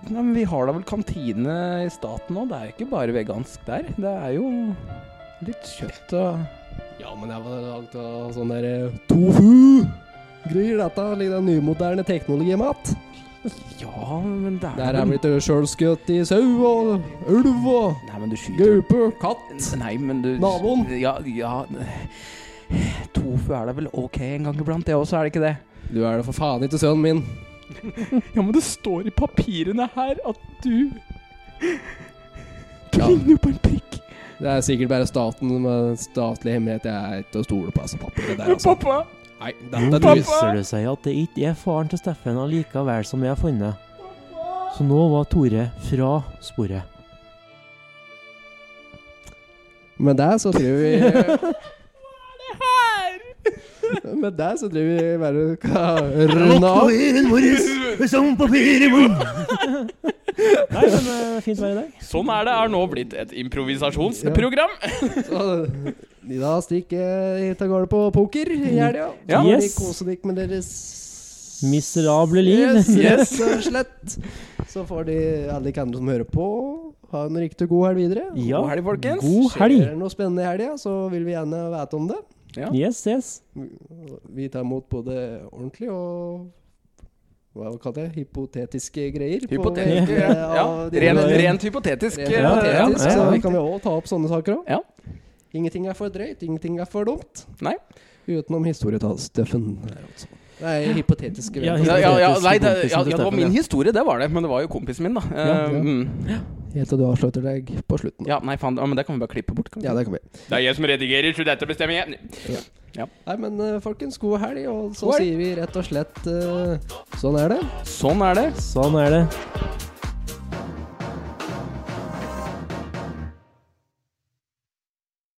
Nei, men vi har da vel kantine i staten nå. Det er jo ikke bare vegansk der. Det er jo litt kjøtt og Ja, men jeg var langt av sånn der eh, tofu. Greier dette, litt den nymoderne teknologimat. Ja, men det er Der er vel- blitt eh, sjølskutt i sau og ulv og Nei, men du skyter gaupe, katt. Nei, men du Naboen? Ja, ja Tofu er da vel ok en gang iblant, det også, er det ikke det? Du er da for faen ikke sønnen min. Ja, men det står i papirene her at du Du Ja. ligner jo på en prikk. Det er sikkert bare staten med statlig hemmelighet jeg er ikke til å stole på, altså, papiret der, altså. Pappa! Nei, Nå dette er du. viser det seg at det ikke er faren til Steffen allikevel som vi har funnet. Så nå var Tore fra sporet. Med det så tror *laughs* vi Hva er det her? *laughs* Med det så tror vi bare skal runde av. *laughs* *laughs* Nei, men eh, fint vær i dag. Sånn er det, er nå blitt et improvisasjonsprogram. Så, I dag stikker jeg hit av gårde på poker i helga. Så Ja. får de Yes. kose dere med deres Miserable liv. Yes, *laughs* yes, og slett. Så får de alle de andre som hører på, ha en riktig god helg videre. Ja, God helg, folkens. God Skjer helg. det noe spennende i helga, så vil vi gjerne vite om det. Yes, yes. Vi tar imot både ordentlig og hva kalte jeg hypotetiske greier. på- Hypotetisk. Ja. ja. Rent, rent hypotetisk. Rent Ja, ja, hypotetisk, ja. eh, så vi kan jo også ta opp sånne saker òg. Ja. Ingenting er for drøyt, ingenting er for dumt. Nei. Utenom historietallsstøffen. Nei, hypotetiske Ja, vet du. Ja, ja, ja, nei, det, kompisen ja, til ja, det var Steffen, min ja. historie, det var det. Men det var jo kompisen min, da. Ja, ja. Um, Helt til du avslutter deg på slutten. ja, nei, faen. Ja, men det kan vi bare klippe bort. kan vi? Ja, det kan vi. Det er jeg som redigerer, så dette bestemmer jeg. Nei, men eh, folkens, god helg. Og så God helg. sier vi rett og slett eh, sånn er det. Sånn er det. Sånn er det.